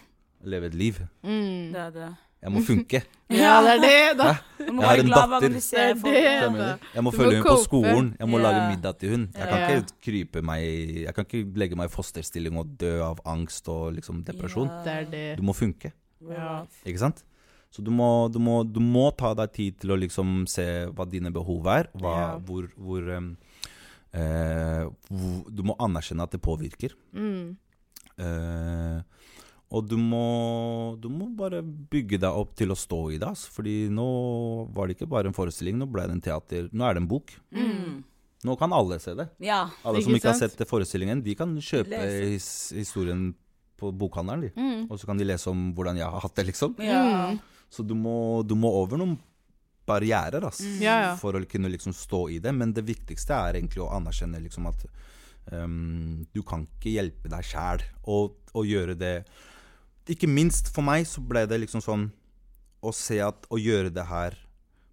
Speaker 3: Leve et liv.
Speaker 1: om- Mm.
Speaker 2: Det er det.
Speaker 3: Jeg må funke.
Speaker 1: Ja, det er det, da.
Speaker 2: Du må
Speaker 3: Jeg har
Speaker 2: være
Speaker 3: en
Speaker 2: glad hver
Speaker 3: datter.
Speaker 2: gang du ser
Speaker 1: Det er
Speaker 2: folk.
Speaker 1: det.
Speaker 2: Ja.
Speaker 1: Ja.
Speaker 3: Skjønner du? Jeg må
Speaker 1: Du må
Speaker 3: følge henne på
Speaker 1: cope.
Speaker 3: skolen. Jeg må
Speaker 2: Ja.
Speaker 3: lage middag til hun. Jeg kan
Speaker 1: Ja.
Speaker 3: ikke krype meg Jeg kan ikke legge meg i fosterstilling og dø av angst og liksom depresjon.
Speaker 1: Det er det.
Speaker 3: Du må funke,
Speaker 1: Ja.
Speaker 3: ikke sant? Så du må, du, må, du må ta deg tid til å liksom se hva dine behov er, hva,
Speaker 1: Ja.
Speaker 3: hvor, hvor em, eh, hvor Du må anerkjenne at det påvirker.
Speaker 1: Mm.
Speaker 3: Eh, og du må, du må bare bygge deg opp til å stå i det. ass. Fordi nå var det ikke bare en forestilling, nå ble det en teater. Nå er det en bok.
Speaker 2: Mm.
Speaker 3: Nå kan alle se det.
Speaker 2: Ja.
Speaker 3: Alle
Speaker 1: Ikke
Speaker 3: som ikke har
Speaker 1: sant?
Speaker 3: sett forestillingen, de kan kjøpe
Speaker 2: Lese.
Speaker 3: his historien på bokhandelen. De. Og så kan de lese om hvordan jeg har hatt det, liksom.
Speaker 2: Ja.
Speaker 1: Mm.
Speaker 3: Så du må, du må over noen barrierer ass,
Speaker 1: Mm. Ja, ja.
Speaker 3: for å kunne liksom stå i det. Men det viktigste er egentlig å anerkjenne liksom at ehm, du kan ikke hjelpe deg sjæl og, og gjøre det Ikke minst for meg så ble det liksom sånn å se at å gjøre det her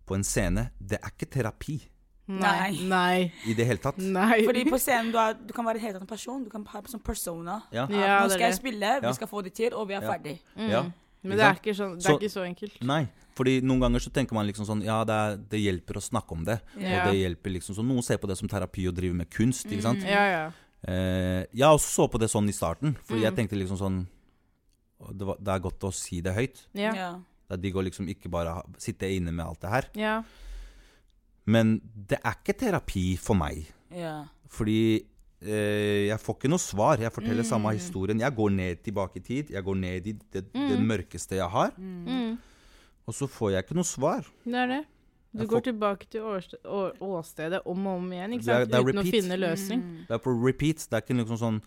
Speaker 3: på en scene, det er ikke terapi
Speaker 1: Nei. Nei.
Speaker 3: i det hele tatt.
Speaker 1: Nei.
Speaker 2: Fordi på scenen du, er, du kan være en helt annen person. Du kan ha en sånn persona.
Speaker 3: Ja.
Speaker 1: Ja,
Speaker 2: Nå
Speaker 1: det er
Speaker 2: skal jeg
Speaker 1: det.
Speaker 2: spille,
Speaker 3: Ja.
Speaker 2: vi skal få det til, og vi er
Speaker 3: Ja.
Speaker 2: ferdig.
Speaker 3: Ja.
Speaker 1: Men det er
Speaker 3: sant?
Speaker 1: ikke, sånn, det er
Speaker 3: Så- Mm.
Speaker 1: ikke så enkelt.
Speaker 3: Nei, fordi noen ganger så tenker man liksom sånn Ja, det, er, det hjelper å snakke om det.
Speaker 1: Ja.
Speaker 3: Og det hjelper liksom sånn Noen ser på det som terapi og driver med kunst, ikke sant.
Speaker 1: Ja, ja.
Speaker 3: Eh, jeg også så på det sånn i starten, for jeg tenkte liksom sånn «Å, det, var, det er godt å si det høyt.
Speaker 1: Ja.
Speaker 2: Ja.
Speaker 3: Det er digg å liksom ikke bare ha, sitte inne med alt det her.
Speaker 1: Ja.
Speaker 3: Men det er ikke terapi for meg.
Speaker 2: Ja.
Speaker 3: Fordi eh, jeg får ikke noe svar. Jeg forteller samme historien. Jeg går ned tilbake i tid. Jeg går ned i det, det mørkeste jeg har.
Speaker 1: Mm.
Speaker 3: Og så får jeg ikke noe svar.
Speaker 1: Det er det. Du
Speaker 3: Jeg
Speaker 1: går
Speaker 3: får-
Speaker 1: tilbake til årste- å- åstedet om og om igjen, ikke
Speaker 3: Det er-
Speaker 1: sant?
Speaker 3: det er
Speaker 1: uten å
Speaker 3: repeat.
Speaker 1: finne løsning.
Speaker 2: Mm.
Speaker 3: Det er på repeat. Det er ikke liksom sånn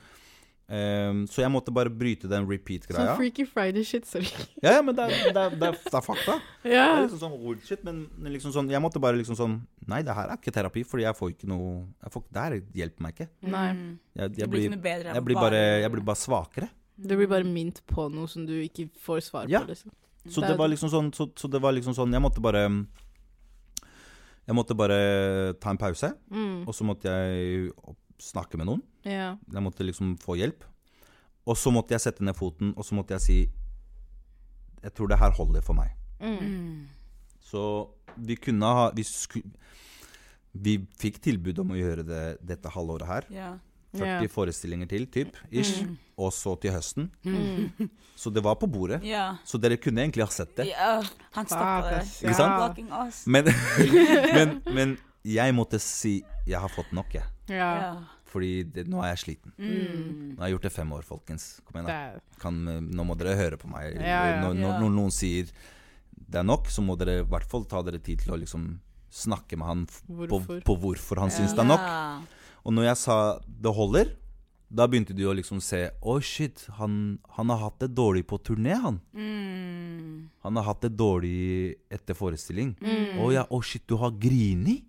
Speaker 3: ehm, Så jeg måtte bare bryte den
Speaker 1: Sånn
Speaker 3: repeat-greia.
Speaker 1: Freaky Friday-shit, sorry.
Speaker 3: Ja, ja, men det er, det er, det er, det er fakta. Det er
Speaker 1: Ja.
Speaker 2: Ah.
Speaker 3: liksom sånn old shit, men men liksom sånn Jeg måtte bare liksom sånn Nei, det her er ikke terapi, fordi jeg får ikke noe jeg får, Det her hjelper meg ikke.
Speaker 1: Nei.
Speaker 2: Mm.
Speaker 3: Jeg,
Speaker 2: Det
Speaker 3: jeg,
Speaker 2: blir ikke
Speaker 3: blir,
Speaker 2: noe bedre.
Speaker 3: jeg, blir bare, jeg blir bare svakere.
Speaker 1: Du blir bare mint på noe som du ikke får svar
Speaker 3: Ja.
Speaker 1: på. Liksom.
Speaker 3: Så
Speaker 2: Mm.
Speaker 1: Det
Speaker 3: det
Speaker 1: er-
Speaker 3: var liksom sånn, så, så det var liksom sånn Jeg måtte bare Jeg måtte bare ta en pause,
Speaker 1: Mm.
Speaker 3: og så måtte jeg opp- snakke med noen.
Speaker 1: Ja.
Speaker 3: Jeg måtte liksom få hjelp. Og så måtte jeg sette ned foten, og så måtte jeg si Jeg tror det her holder for meg.
Speaker 1: Mm.
Speaker 3: Så vi kunne ha Vi, sku, vi fikk tilbud om å gjøre det dette halvåret her.
Speaker 2: Ja. Mm.
Speaker 3: 40
Speaker 1: Ja.
Speaker 3: forestillinger til, typ, ish. Og så til høsten.
Speaker 1: Mm.
Speaker 3: Så det var på bordet.
Speaker 2: ja.
Speaker 3: Så dere kunne egentlig ha sett det.
Speaker 2: ja. Han stopper det.
Speaker 1: Fuck,
Speaker 3: Ikke
Speaker 1: ass.
Speaker 3: sant?
Speaker 1: Ja.
Speaker 2: Fucking ass.
Speaker 3: Men, men, men jeg måtte si jeg har fått nok, jeg.
Speaker 1: Ja.
Speaker 2: Ja.
Speaker 3: Fordi det, nå er jeg sliten.
Speaker 2: Mm.
Speaker 3: Nå har jeg gjort det fem år, folkens. Kom igjen,
Speaker 1: Det
Speaker 3: da.
Speaker 1: er
Speaker 3: Kan, nå må dere høre på meg.
Speaker 1: Ja, ja.
Speaker 3: Når, når,
Speaker 2: Ja.
Speaker 3: når noen sier det er nok, så må dere i hvert fall ta dere tid til å liksom snakke med han f-
Speaker 1: Hvorfor?
Speaker 3: På, på hvorfor han syns det er nok. Og når jeg sa det holder, da begynte du å liksom se Å, shit, han, han har hatt det dårlig på turné, han.
Speaker 2: Mm.
Speaker 3: Han har hatt det dårlig etter forestilling. Å
Speaker 1: Mm.
Speaker 3: ja, å shit, du har grini?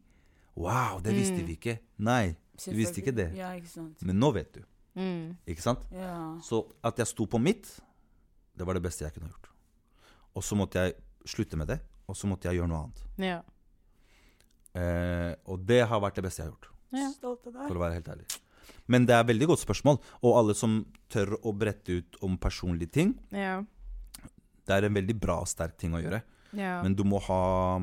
Speaker 3: Wow, det visste vi ikke. Nei, du visste ikke det.
Speaker 2: Ja, ikke sant.
Speaker 3: Men nå vet du.
Speaker 1: Mm.
Speaker 3: Ikke sant?
Speaker 2: Ja.
Speaker 3: Så at jeg sto på mitt, det var det beste jeg kunne ha gjort. Og så måtte jeg slutte med det, og så måtte jeg gjøre noe annet.
Speaker 1: Ja.
Speaker 3: Eh, og det har vært det beste jeg har gjort.
Speaker 1: Ja.
Speaker 2: Stolt av deg.
Speaker 3: for å være helt ærlig. Men det er veldig godt spørsmål, og alle som tør å brette ut om personlige ting,
Speaker 1: Ja.
Speaker 3: det er en veldig bra og sterk ting å gjøre.
Speaker 1: ja.
Speaker 3: Men du må ha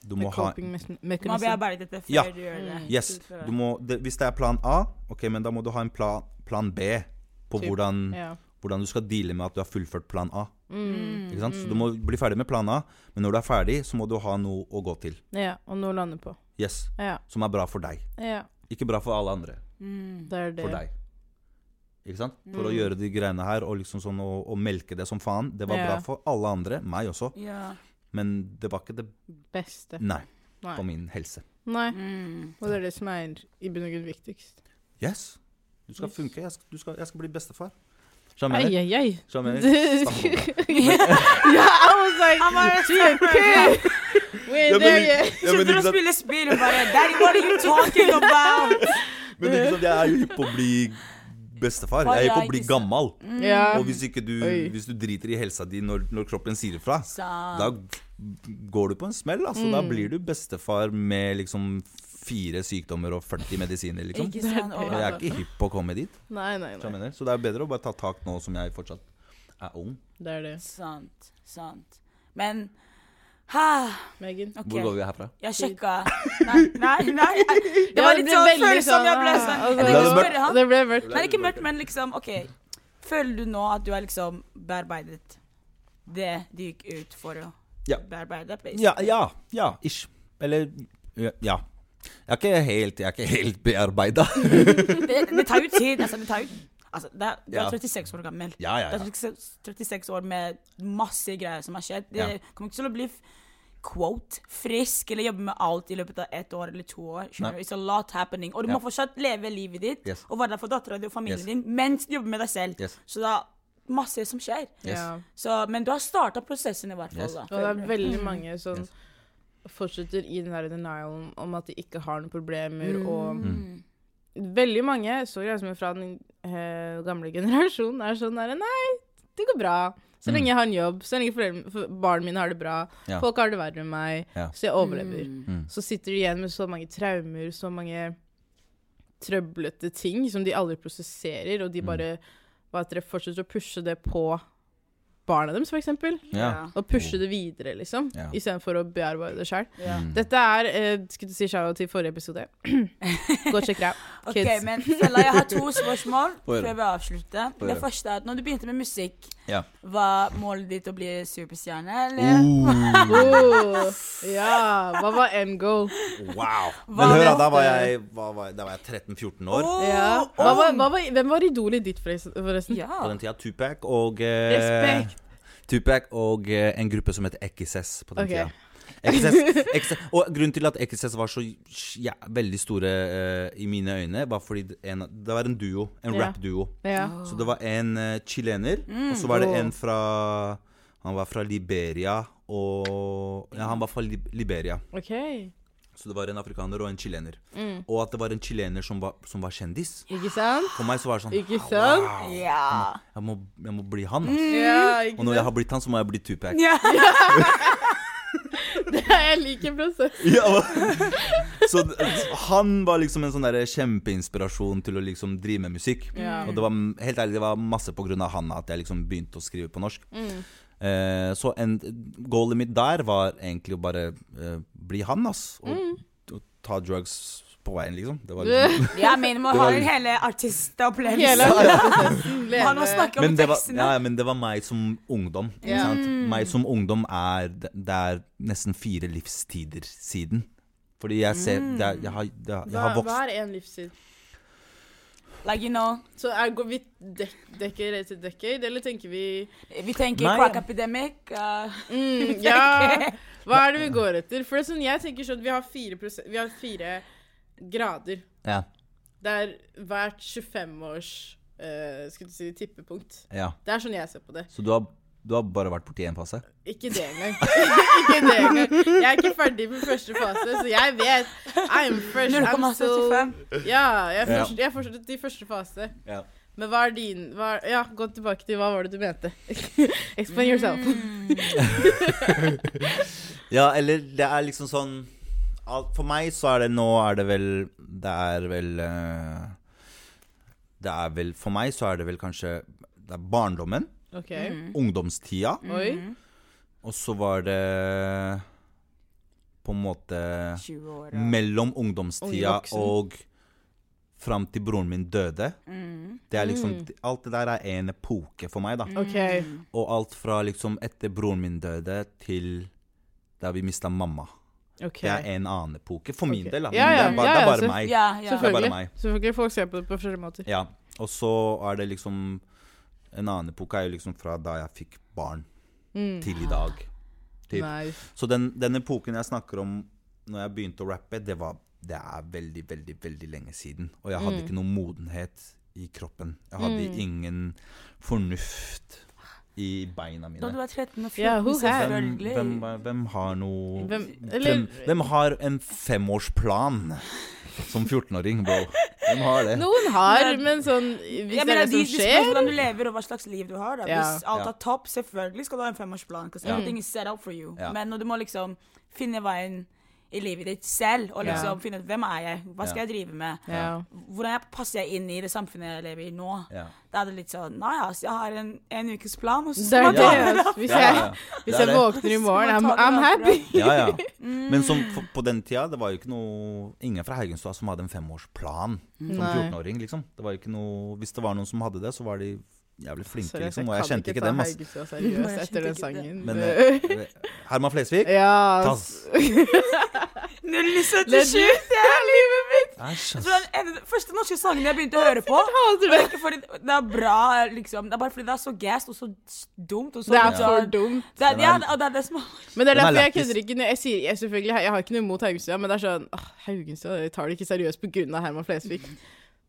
Speaker 3: Du må
Speaker 1: Med
Speaker 3: ha
Speaker 1: coping mekani-
Speaker 2: Du må
Speaker 1: mekanisme.
Speaker 2: bearbeide dette før
Speaker 3: Ja.
Speaker 2: du gjør det.
Speaker 1: Mm.
Speaker 3: Yes. Du må, det, hvis det er plan A, ok, men da må du ha en plan, plan B på
Speaker 1: Typ,
Speaker 3: hvordan,
Speaker 1: Ja.
Speaker 3: hvordan du skal deale med at du har fullført plan A.
Speaker 1: Mm.
Speaker 3: Ikke sant? Så du må bli ferdig med plan A, men når du er ferdig, så må du ha noe å gå til.
Speaker 1: ja. Og noe å lande på.
Speaker 3: Yes.
Speaker 1: Ja.
Speaker 3: Som er bra for deg.
Speaker 1: ja.
Speaker 3: Ikke bra for alle andre.
Speaker 2: Mm.
Speaker 1: Det er det. Mm.
Speaker 3: for deg. Ikke sant? For å gjøre de greiene her og liksom sånn å, å melke det som faen. Det var
Speaker 1: Ja.
Speaker 3: bra for alle andre, meg også,
Speaker 2: Ja.
Speaker 3: men det var ikke det
Speaker 1: Beste.
Speaker 3: Nei, på
Speaker 1: Nei.
Speaker 3: min helse.
Speaker 1: Nei.
Speaker 2: Mm.
Speaker 1: Og det er det som er i bunn og grunn viktigst.
Speaker 3: Yes! Du skal funke. Jeg skal, du skal, jeg skal bli bestefar.
Speaker 1: Ai,
Speaker 3: Skjønner du?
Speaker 1: ai, ai.
Speaker 3: Skjønner du? Stakkars.
Speaker 1: yeah, I was like,
Speaker 2: I'm already
Speaker 1: she a kid. We ain't
Speaker 3: Ja, men-
Speaker 1: there yet.
Speaker 3: Ja, men
Speaker 2: Sitter
Speaker 3: ikke
Speaker 2: og
Speaker 3: sant-
Speaker 2: spiller spill og bare Daddy, what are you talking about?
Speaker 3: men ikke sant, jeg er jo hypp på å bli bestefar. Jeg er hypp på å bli gammel.
Speaker 1: Ja.
Speaker 3: Og hvis, ikke du,
Speaker 1: Oi.
Speaker 3: hvis du driter i helsa di når, når kroppen sier ifra,
Speaker 2: Sant.
Speaker 3: da g- går du på en smell. Altså, Da blir du bestefar med liksom fire sykdommer og 40 medisiner, liksom.
Speaker 2: Ikke sant?
Speaker 1: Og
Speaker 3: Og jeg er ikke hypp på å komme dit.
Speaker 1: Nei, nei,
Speaker 3: skjønner
Speaker 1: nei.
Speaker 3: jeg. Så det er bedre å bare ta tak nå som jeg fortsatt er ung.
Speaker 1: Det er det.
Speaker 2: Sant. Sant. Men ha,
Speaker 1: Megan.
Speaker 2: OK.
Speaker 3: Hvor går vi herfra?
Speaker 2: Jeg sjekka Nei, nei. nei. Det
Speaker 1: Ja,
Speaker 2: var litt sånn
Speaker 1: veldig
Speaker 2: følelse som jeg ble
Speaker 1: ah,
Speaker 2: sånn.
Speaker 1: altså,
Speaker 2: Jeg tenkte
Speaker 3: La det
Speaker 2: å
Speaker 3: mørkt.
Speaker 2: spørre han.
Speaker 1: Det ble mørkt.
Speaker 2: Nei, ikke mørkt, men liksom OK. Føler du nå at du har liksom bearbeidet det du gikk ut for å
Speaker 3: Ja.
Speaker 2: bearbeide? basically?
Speaker 3: Ja, ja, ja, ish. Eller ja, ja. Jeg er ikke helt, jeg er ikke helt bearbeida.
Speaker 2: Det, det tar jo tid. Altså, det tar jo Altså, det er, du
Speaker 3: Ja.
Speaker 2: er 36 år gammel.
Speaker 3: Ja, ja,
Speaker 2: Det
Speaker 3: ja.
Speaker 2: er 36 36 år med masse greier som har skjedd. Det
Speaker 3: Ja.
Speaker 2: kommer ikke til å bli f- quote frisk eller jobbe med alt i løpet av ett år eller to år. skjønner du?
Speaker 3: Nei.
Speaker 2: It's a lot happening. Og du
Speaker 3: Ja.
Speaker 2: må fortsatt leve livet ditt
Speaker 3: Yes.
Speaker 2: og være der for dattera di og familien
Speaker 3: Yes.
Speaker 2: din mens du jobber med deg selv.
Speaker 3: Yes.
Speaker 2: Så det er masse som skjer.
Speaker 3: Yes.
Speaker 1: Ja.
Speaker 2: Så, men du har starta prosessen i hvert fall.
Speaker 3: Yes.
Speaker 2: Da,
Speaker 1: Og det er
Speaker 2: Mm.
Speaker 1: veldig mange som
Speaker 3: Yes.
Speaker 1: fortsetter i den her denialen om at de ikke har noen problemer og Veldig mange, så jeg som er fra den eh, gamle generasjonen, er sånn der Nei, det går bra. Så lenge jeg har en jobb, så lenge foreldre, for barna mine har det bra,
Speaker 3: Mm. Ja.
Speaker 1: folk har det verre enn meg,
Speaker 3: Ja.
Speaker 1: så jeg overlever.
Speaker 3: Mm.
Speaker 1: Så sitter de igjen med så mange traumer, så mange trøblete ting som de aldri prosesserer,
Speaker 3: Mm.
Speaker 1: og de bare hva heter det, fortsetter å pushe det på barna deres, for eksempel.
Speaker 3: Ja.
Speaker 1: Og pushe det videre, liksom.
Speaker 3: Ja.
Speaker 1: Istedenfor å bearbeide det sjøl.
Speaker 3: Mm.
Speaker 2: Ja.
Speaker 1: Dette er eh, Skulle du si shout til forrige episode? Gå og sjekk det out.
Speaker 2: Ok,
Speaker 1: Kids.
Speaker 2: men Fella, jeg har to spørsmål
Speaker 3: Få høre.
Speaker 2: før vi avslutter.
Speaker 3: Få
Speaker 2: Det
Speaker 3: høre.
Speaker 2: første er at når du begynte med musikk,
Speaker 3: ja.
Speaker 2: var målet ditt å bli superstjerne, eller?
Speaker 3: Oh,
Speaker 1: Oh, ja. Hva var end goal?
Speaker 3: wow.
Speaker 2: Hva
Speaker 3: Men hør, da,
Speaker 2: vet
Speaker 3: da var
Speaker 1: du?
Speaker 3: jeg, hva var, jeg- da var jeg 13-14 år.
Speaker 2: Åh,
Speaker 1: Ja. Hva var, hva var, hvem var idolet ditt, forresten- forresten?
Speaker 2: Ja.
Speaker 3: På den tida Tupac og eh,
Speaker 1: Respekt.
Speaker 3: Tupac og eh, en gruppe som heter XS på den
Speaker 1: Ok.
Speaker 3: tida. XS, XS, og grunnen til at XS var så ja, veldig store eh, i mine øyne, var fordi det- en, det var en duo. En
Speaker 1: Ja.
Speaker 3: rap-duo.
Speaker 1: Eh, Ja.
Speaker 3: Så det var en eh, chilener, og så var det en fra Han var fra Liberia og Ja, han var fra Lib Liberia.
Speaker 1: OK.
Speaker 3: Så det var en afrikaner og en chilener. Og at det var en chilener som var, som var kjendis.
Speaker 1: Ikke sant?
Speaker 3: For meg så var det sånn
Speaker 1: Ikke sant?
Speaker 3: Wow,
Speaker 2: Ja.
Speaker 3: jeg må, jeg må bli han, ass.
Speaker 1: Ja, ikke
Speaker 3: Og når jeg
Speaker 1: sant?
Speaker 3: har blitt han, så må jeg bli Tupac.
Speaker 2: Ja.
Speaker 1: Jeg liker prosessen.
Speaker 3: Ja, hva? så d- han var liksom en sånn der kjempeinspirasjon til å liksom drive med musikk.
Speaker 1: Ja.
Speaker 3: Og det var m- helt ærlig, det var masse på grunn av han at jeg liksom begynte å skrive på norsk.
Speaker 1: Mm.
Speaker 3: Eh, så en, goalet mitt der var egentlig å bare eh, bli han, ass. Og,
Speaker 1: Mm.
Speaker 3: og ta drugs på veien, liksom. Det var liksom
Speaker 2: ja, men man
Speaker 3: Det var
Speaker 2: har
Speaker 3: litt-
Speaker 2: hele artistopplevelsen.
Speaker 1: Hele prosessen.
Speaker 2: Man må snakke om
Speaker 3: men det, var,
Speaker 2: tekstene.
Speaker 3: ja, ja, men det var meg som ungdom. Ikke sant?
Speaker 1: Mm.
Speaker 3: Meg som ungdom er Det det er nesten fire livstider siden. Fordi jeg ser det er, jeg, har, det, jeg
Speaker 1: Mm. Hva,
Speaker 3: har
Speaker 1: hva
Speaker 3: vokst
Speaker 1: er en livstid?
Speaker 2: Like, you know,
Speaker 1: Så er, går vi dek decade til decade, eller tenker vi
Speaker 2: vi tenker
Speaker 3: Nei.
Speaker 2: crack epidemic. Uh,
Speaker 1: mm, Ja! Hva er det vi går etter? For det er sånn, jeg tenker sånn at vi har fire, prose- vi har fire grader.
Speaker 3: Ja.
Speaker 1: Det er hvert 25-års eh, skulle du si, tippepunkt.
Speaker 3: ja.
Speaker 1: Det er sånn jeg ser på det.
Speaker 3: Så du har, du har bare vært borti én fase?
Speaker 1: Ikke det engang. ikke det engang. Jeg er ikke ferdig med første fase, så jeg vet. I'm fresh, I'm still
Speaker 2: 0,75.
Speaker 1: Ja, jeg er
Speaker 3: Ja.
Speaker 1: først- jeg er fortsatt i første fase.
Speaker 3: Ja.
Speaker 1: Men hva er din hva, Ja, gå tilbake til hva var det du mente. Explain yourself.
Speaker 3: eller det er liksom sånn alt- For meg så er det nå er det vel Det er vel eh, Det er vel For meg så er det vel kanskje Det er barndommen,
Speaker 1: OK.
Speaker 2: Mm,
Speaker 3: ungdomstida,
Speaker 1: Oi.
Speaker 3: og så var det på en måte
Speaker 2: 20 år. da.
Speaker 3: mellom ungdomstida
Speaker 1: Ung voksen.
Speaker 3: og fram til broren min døde.
Speaker 2: mm,
Speaker 3: Det er liksom Alt det der er en epoke for meg, da.
Speaker 1: OK.
Speaker 3: Og alt fra liksom etter broren min døde til der vi mista mamma.
Speaker 1: ok.
Speaker 3: Det er en annen epoke, for min
Speaker 1: Ok.
Speaker 3: del. Da.
Speaker 1: Ja, ja,
Speaker 3: det er bare,
Speaker 1: ja,
Speaker 3: det er
Speaker 1: ja,
Speaker 3: bare
Speaker 1: så-
Speaker 3: meg.
Speaker 2: Ja, ja.
Speaker 3: er bare
Speaker 1: Selvfølgelig.
Speaker 3: meg.
Speaker 1: Selvfølgelig Folk ser på det på forskjellige måter.
Speaker 3: Ja. Og så er det liksom En annen epoke er jo liksom fra da jeg fikk barn,
Speaker 1: Mm.
Speaker 3: til i dag. Typ.
Speaker 1: Nice.
Speaker 3: Så den, den epoken jeg snakker om når jeg begynte å rappe, det, var, det er veldig, veldig veldig lenge siden. Og jeg
Speaker 1: Mm.
Speaker 3: hadde ikke noen modenhet i kroppen. Jeg hadde ingen fornuft i beina
Speaker 2: Da
Speaker 3: mine.
Speaker 2: du var 13 og 14,
Speaker 1: Ja, who had?
Speaker 3: Hvem,
Speaker 2: selvfølgelig.
Speaker 3: hvem, hvem har noe
Speaker 1: Hvem,
Speaker 3: hvem,
Speaker 1: eller
Speaker 3: hvem har en femårsplan som 14-åring, bro? Hvem har det?
Speaker 1: Noen har, men sånn Hvis
Speaker 2: Jeg
Speaker 1: det er
Speaker 2: mener,
Speaker 1: det
Speaker 2: de,
Speaker 1: som
Speaker 2: de spør
Speaker 1: skjer
Speaker 2: hvordan du lever og hva slags liv du har. Da.
Speaker 1: Ja.
Speaker 2: Hvis alt
Speaker 3: Ja.
Speaker 2: er topp, selvfølgelig skal du ha en femårsplan. Because everything is set up for you.
Speaker 3: Ja.
Speaker 2: Men når du må liksom finne veien i livet ditt selv, og liksom
Speaker 1: Ja.
Speaker 2: finne ut hvem er jeg, hva skal
Speaker 3: Ja.
Speaker 2: jeg drive med,
Speaker 1: ja.
Speaker 2: hvordan jeg passer jeg inn i det samfunnet jeg lever i nå,
Speaker 3: Ja.
Speaker 2: da er det litt sånn Nei, ass, jeg har en, en ukes plan, og så
Speaker 1: Det
Speaker 2: skal
Speaker 1: er
Speaker 2: man
Speaker 1: det.
Speaker 2: ta
Speaker 3: Ja.
Speaker 2: det.
Speaker 1: altså. Hvis
Speaker 3: Ja, ja,
Speaker 1: jeg,
Speaker 3: ja.
Speaker 1: hvis
Speaker 3: Det er
Speaker 1: jeg
Speaker 3: det.
Speaker 1: våkner i morgen, I'm,
Speaker 2: Ta det
Speaker 1: I'm
Speaker 2: derfra.
Speaker 1: happy.
Speaker 3: Ja, ja.
Speaker 1: Mm.
Speaker 3: Men som, for, på den tida, det var jo ikke noe Ingen fra Haugenstua som hadde en femårsplan som
Speaker 1: Nei.
Speaker 3: 14-åring, liksom. Det var jo ikke noe Hvis det var noen som hadde det, så var de jævlig flinke,
Speaker 1: Sorry,
Speaker 3: liksom. Og
Speaker 1: Altså, kan
Speaker 3: jeg kjente ikke
Speaker 1: ta
Speaker 3: dem, ass.
Speaker 1: Haugestua
Speaker 2: Nei,
Speaker 1: seriøst
Speaker 2: jeg
Speaker 1: etter den
Speaker 2: skjønte ikke
Speaker 1: sangen.
Speaker 3: Men eh, Herman Flesvig
Speaker 1: ja,
Speaker 3: Tass.
Speaker 1: ass. Legit.
Speaker 2: 077, det er livet mitt!
Speaker 3: Æsj,
Speaker 2: Så
Speaker 3: ass.
Speaker 2: den ene- første norske sangen jeg begynte å høre på
Speaker 1: Hater
Speaker 2: Det
Speaker 1: det.
Speaker 2: er ikke fordi det er bra, liksom. Det er bare fordi det er så gassed og så dumt. Og så
Speaker 1: Det er
Speaker 2: litt
Speaker 1: for
Speaker 2: sånn-
Speaker 1: dumt.
Speaker 2: Det er,
Speaker 3: Den er-
Speaker 2: ja, og det er det som er
Speaker 1: Men det er
Speaker 3: Den er
Speaker 1: derfor jeg
Speaker 3: lættis.
Speaker 1: kødder ikke. Når jeg, sier, jeg, selvfølgelig, jeg har ikke noe imot Haugenstua, men det er sånn åh, Haugenstua jeg tar det ikke seriøst på grunn av Herman Flesvig.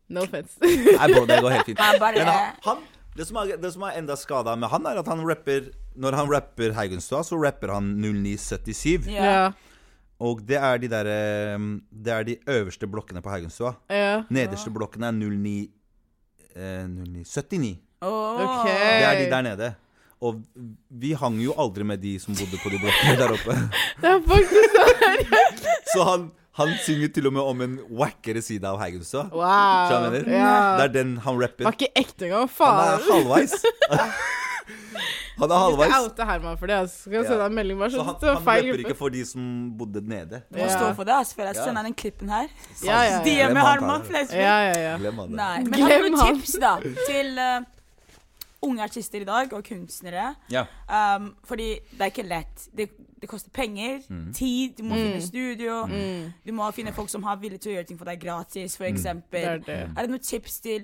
Speaker 1: No offense.
Speaker 3: Nei, bro, det går helt fint.
Speaker 2: Jeg bare-
Speaker 3: Men han, han det, som er, det som er enda skada med han, er at han rapper Når han rapper Haugenstua, så rapper han 0977.
Speaker 2: ja.
Speaker 1: ja.
Speaker 3: Og det er de der, eh, Det er de øverste blokkene på Haugenstua.
Speaker 1: ja.
Speaker 3: Nederste blokken er 09... Eh, 0979.
Speaker 2: Åh.
Speaker 1: OK.
Speaker 3: Det er de der nede. Og vi hang jo aldri med de som bodde på de blokkene der oppe.
Speaker 1: Det er faktisk sånn.
Speaker 3: Så han, han synger til og med om en wackere side av Haugenstua.
Speaker 1: Wow.
Speaker 3: Skjønner du? Det
Speaker 1: Ja.
Speaker 3: er den han rapper.
Speaker 1: Var ikke ekte engang.
Speaker 3: Han
Speaker 1: Faen.
Speaker 3: er halvveis. Han er
Speaker 1: Jeg
Speaker 3: halvveis.
Speaker 1: outa Herman for det. Altså. Skal jeg
Speaker 3: Ja.
Speaker 1: sende en melding bare
Speaker 3: Så
Speaker 1: sånn?
Speaker 3: han,
Speaker 1: det var
Speaker 3: han
Speaker 1: feil
Speaker 3: rapper
Speaker 1: gruppe.
Speaker 3: ikke for de som bodde nede.
Speaker 2: Du må stå for det, ass, før jeg
Speaker 3: Ja.
Speaker 2: sender den klippen her.
Speaker 1: Ja, ja, ja.
Speaker 2: De er
Speaker 3: Glem
Speaker 2: med
Speaker 3: han,
Speaker 2: Harman
Speaker 3: Tara.
Speaker 2: Flesvig.
Speaker 1: Ja, ja, ja.
Speaker 3: Glem han.
Speaker 2: Nei, men har
Speaker 1: Glem
Speaker 2: du noen
Speaker 1: han.
Speaker 2: tips, da, til eh, unge artister i dag, og kunstnere?
Speaker 3: Ja.
Speaker 2: Um, fordi det er ikke lett. Det, det koster penger,
Speaker 1: Mm.
Speaker 2: tid, du må finne studio. Du må finne folk som har villig til å gjøre ting for deg
Speaker 1: Mm.
Speaker 2: gratis, for eksempel.
Speaker 1: Det er det.
Speaker 3: Mm.
Speaker 2: Er det noen tips til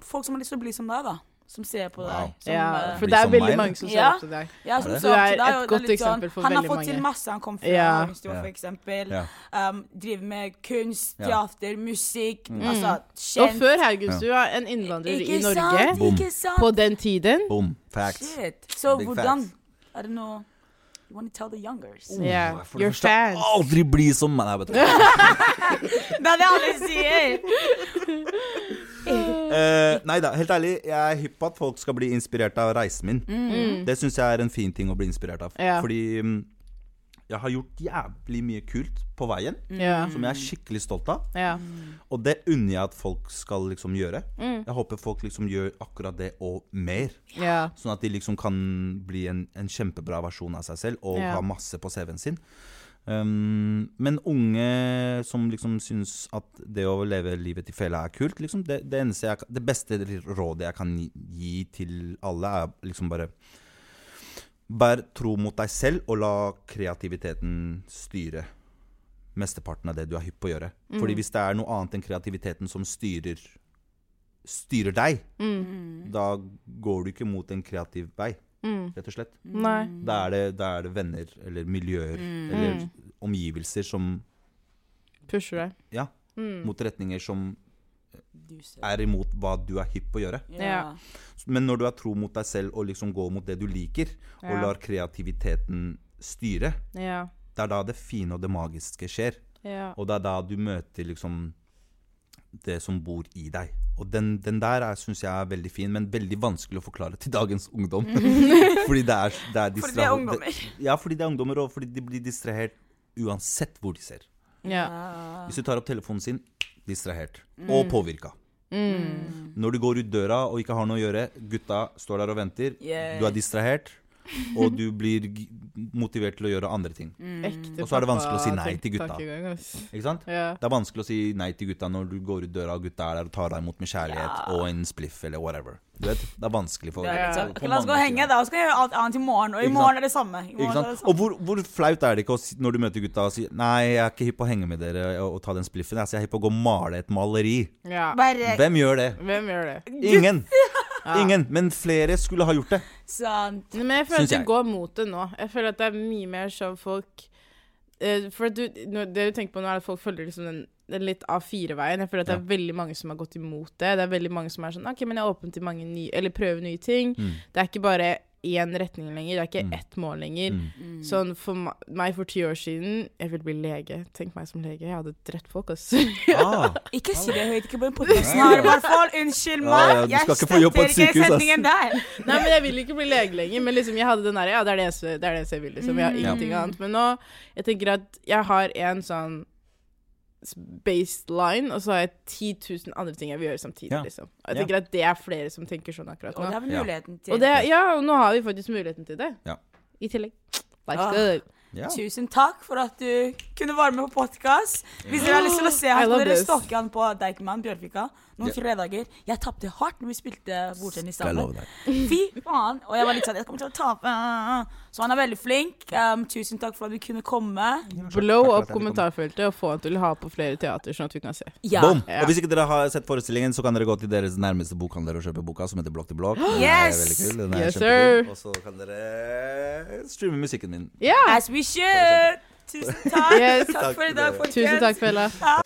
Speaker 2: folk som har lyst til å bli som deg, da? Som ser på
Speaker 3: Wow.
Speaker 2: deg. Som,
Speaker 1: ja,
Speaker 2: eh,
Speaker 1: for
Speaker 3: Bli
Speaker 1: det er
Speaker 3: som
Speaker 1: veldig
Speaker 3: meg,
Speaker 1: mange som ser
Speaker 2: Ja.
Speaker 1: opp til deg.
Speaker 2: Ja, som
Speaker 3: Er det?
Speaker 2: sa
Speaker 1: Du er
Speaker 2: til deg,
Speaker 1: et
Speaker 2: og det er
Speaker 1: godt
Speaker 2: litt sånn-
Speaker 1: eksempel for
Speaker 2: Han har
Speaker 1: veldig
Speaker 2: fått til
Speaker 1: mange.
Speaker 2: masse. Han kom fra
Speaker 1: Ja.
Speaker 2: Haugenstua,
Speaker 3: Ja.
Speaker 2: for eksempel.
Speaker 3: Ja.
Speaker 2: Um, driver med kunst,
Speaker 3: Ja. Mm.
Speaker 2: teater, musikk. Altså,
Speaker 1: Og
Speaker 2: kjent.
Speaker 1: før Haugenstua, en innvandrer i
Speaker 2: Ikke
Speaker 1: Norge
Speaker 2: sant?
Speaker 3: Boom.
Speaker 2: Ikke sant?
Speaker 1: på den tiden
Speaker 3: Boom. Facts.
Speaker 2: Shit. Så
Speaker 3: Big
Speaker 2: hvordan
Speaker 3: facts.
Speaker 2: Er det noe You want to tell the youngers.
Speaker 1: Yeah,
Speaker 3: Oh, For det
Speaker 1: your
Speaker 3: første,
Speaker 1: fans.
Speaker 3: Aldri bli som meg! Nei, vet du hva.
Speaker 2: Det er det alle sier.
Speaker 3: Eh, nei da, helt ærlig, jeg er hypp på at folk skal bli inspirert av reisen min.
Speaker 2: Mm.
Speaker 1: Mm.
Speaker 3: Det syns jeg er en fin ting å bli inspirert av.
Speaker 1: Ja.
Speaker 3: Fordi mm, jeg har gjort jævlig mye kult på veien,
Speaker 1: Ja.
Speaker 3: som
Speaker 2: Mm.
Speaker 3: jeg er skikkelig stolt av.
Speaker 1: ja.
Speaker 3: Og det unner jeg at folk skal liksom gjøre.
Speaker 1: Mm.
Speaker 3: Jeg håper folk liksom gjør akkurat det og mer.
Speaker 1: ja.
Speaker 3: Sånn at de liksom kan bli en, en kjempebra versjon av seg selv og
Speaker 1: Ja.
Speaker 3: ha masse på CV-en sin. Um, men unge som liksom syns at det å leve livet til fela er kult, liksom, det, det, eneste jeg, kan- det beste rådet jeg kan gi- gi til alle, er liksom bare Vær tro mot deg selv, og la kreativiteten styre mesteparten av det du er hypp på å gjøre.
Speaker 1: Mm.
Speaker 3: Fordi hvis det er noe annet enn kreativiteten som styrer, styrer deg,
Speaker 1: Mm,
Speaker 2: Mm.
Speaker 3: da går du ikke mot en kreativ vei,
Speaker 1: mm.
Speaker 3: rett og slett.
Speaker 2: Mm.
Speaker 1: Nei.
Speaker 3: Da er det, da er det venner eller miljøer
Speaker 2: Mm.
Speaker 3: eller omgivelser som
Speaker 1: Pusher deg. Mm.
Speaker 3: Ja, mot retninger som
Speaker 2: Du ser.
Speaker 3: er imot hva du er hypp på å gjøre.
Speaker 1: Ja.
Speaker 3: Men når du er tro mot deg selv og liksom går mot det du liker, og
Speaker 1: Ja.
Speaker 3: lar kreativiteten styre,
Speaker 1: Ja.
Speaker 3: det er da det fine og det magiske skjer.
Speaker 1: Ja.
Speaker 3: Og det er da du møter liksom det som bor i deg. Og den, den der syns jeg er veldig fin, men veldig vanskelig å forklare til dagens ungdom. fordi det er, det er
Speaker 2: Fordi det er
Speaker 3: distraher-
Speaker 2: ungdommer.
Speaker 3: det- Ja, fordi det er ungdommer, og fordi de blir distrahert uansett hvor de ser.
Speaker 1: Ja.
Speaker 3: Hvis du tar opp telefonen sin, distrahert. Og påvirka.
Speaker 1: Mm.
Speaker 3: Når du går ut døra og ikke har noe å gjøre, gutta står der og venter,
Speaker 2: Yes.
Speaker 3: du er distrahert, og du blir g- motivert til å gjøre andre ting.
Speaker 2: Mm.
Speaker 1: Ekte
Speaker 3: Og så er det
Speaker 1: pappa-
Speaker 3: vanskelig å si nei til gutta.
Speaker 1: tankegang, ass.
Speaker 3: Ikke sant?
Speaker 1: Ja.
Speaker 3: Det er vanskelig å si nei til gutta når du går ut døra og gutta er der og tar deg imot med kjærlighet og en spliff eller whatever. Du vet, Det er vanskelig for
Speaker 2: Ja,
Speaker 3: på
Speaker 2: liksom. Ok, la oss
Speaker 3: mange
Speaker 2: gå og henge,
Speaker 3: sider.
Speaker 2: da. Så skal jeg gjøre alt annet i morgen. Og i
Speaker 3: Ikke sant?
Speaker 2: morgen er det samme. I
Speaker 3: Ikke
Speaker 2: morgen er det sånn.
Speaker 3: sant?
Speaker 2: samme.
Speaker 3: Og hvor, hvor flaut er det ikke å si, når du møter gutta og sier Nei, jeg er ikke hypp på å henge med dere og, og ta den spliffen. Altså, jeg er hypp på å gå og male et maleri.
Speaker 1: Ja.
Speaker 2: Bare
Speaker 3: Hvem gjør det?
Speaker 1: Hvem gjør det?
Speaker 3: Ingen! Ingen! Men flere skulle ha gjort det.
Speaker 2: sant.
Speaker 1: Men jeg føler
Speaker 3: Syns
Speaker 1: at det
Speaker 3: jeg.
Speaker 1: går mot det nå. Jeg føler at det er mye mer sånn folk eh, For at du, nå- det du tenker på nå, er at folk følger liksom den, den litt A4-veien. Jeg føler at det er veldig mange som har gått imot det. Det er veldig mange som er sånn OK, men jeg er åpen til mange nye Eller prøve nye ting.
Speaker 3: Mm.
Speaker 1: Det er ikke bare én retning lenger. Det er ikke ett mål lenger.
Speaker 3: Mm.
Speaker 1: Sånn for ma- meg for ti år siden Jeg ville bli lege. Tenk meg som lege. Jeg hadde drept folk, ass.
Speaker 3: Ah,
Speaker 2: Ikke si det høyt. Ikke på den podkasten her, i hvert fall. Unnskyld
Speaker 3: Ja, ja,
Speaker 2: meg.
Speaker 3: du
Speaker 2: Jeg
Speaker 3: skal ikke få jobb på et
Speaker 2: sletter ikke
Speaker 3: sykehus, ass.
Speaker 2: setningen der.
Speaker 1: Nei, men jeg vil ikke bli lege lenger. Men liksom, jeg hadde den derre Ja, det er det, jeg- det er det eneste jeg vil, liksom.
Speaker 3: Mm.
Speaker 1: Jeg har ingenting annet. Men nå Jeg tenker at jeg har en sånn s- baseline, og så har jeg 10 000 andre ting jeg vil gjøre samtidig,
Speaker 3: Ja.
Speaker 1: liksom. Og jeg
Speaker 3: Ja.
Speaker 1: tenker at det er flere som tenker sånn akkurat
Speaker 2: Og det
Speaker 1: nå.
Speaker 2: har vi
Speaker 3: Ja.
Speaker 2: muligheten til.
Speaker 1: Og det, ja, og nå har vi faktisk muligheten til det.
Speaker 3: Ja.
Speaker 1: I tillegg. Life's
Speaker 2: Ah.
Speaker 1: good.
Speaker 3: ja.
Speaker 2: Tusen takk for at du kunne være med på podkast. Hvis dere har lyst til å se
Speaker 1: I
Speaker 2: han, så
Speaker 1: love
Speaker 2: må dere
Speaker 1: this.
Speaker 2: stalke han på Deichman Bjørvika noen
Speaker 3: Ja.
Speaker 2: fredager. Jeg tapte hardt når vi spilte bordtennis
Speaker 3: Jeg
Speaker 2: sammen.
Speaker 3: lover deg.
Speaker 2: Fy faen. Og jeg var litt sånn Jeg kommer til å tape. Så han er veldig flink. Um, tusen takk for at du kunne komme.
Speaker 1: Blow
Speaker 3: Takk for
Speaker 1: opp
Speaker 3: at jeg fikk komme.
Speaker 1: kommentarfeltet og få han til å ha på flere teater, sånn at vi kan se.
Speaker 2: Ja.
Speaker 3: Boom.
Speaker 1: Ja.
Speaker 3: Og hvis ikke dere har sett forestillingen, så kan dere gå til deres nærmeste bokhandler og kjøpe boka som heter Blokk til blokk. Den er
Speaker 2: Yes!
Speaker 3: veldig kul. Den er
Speaker 1: Yes,
Speaker 3: kjempekul.
Speaker 1: sir.
Speaker 3: Og så kan dere streame musikken min.
Speaker 1: Ja!
Speaker 2: As we should. Tusen takk.
Speaker 1: Yes.
Speaker 2: Takk for i dag, folkens.
Speaker 1: Tusen takk, Fella.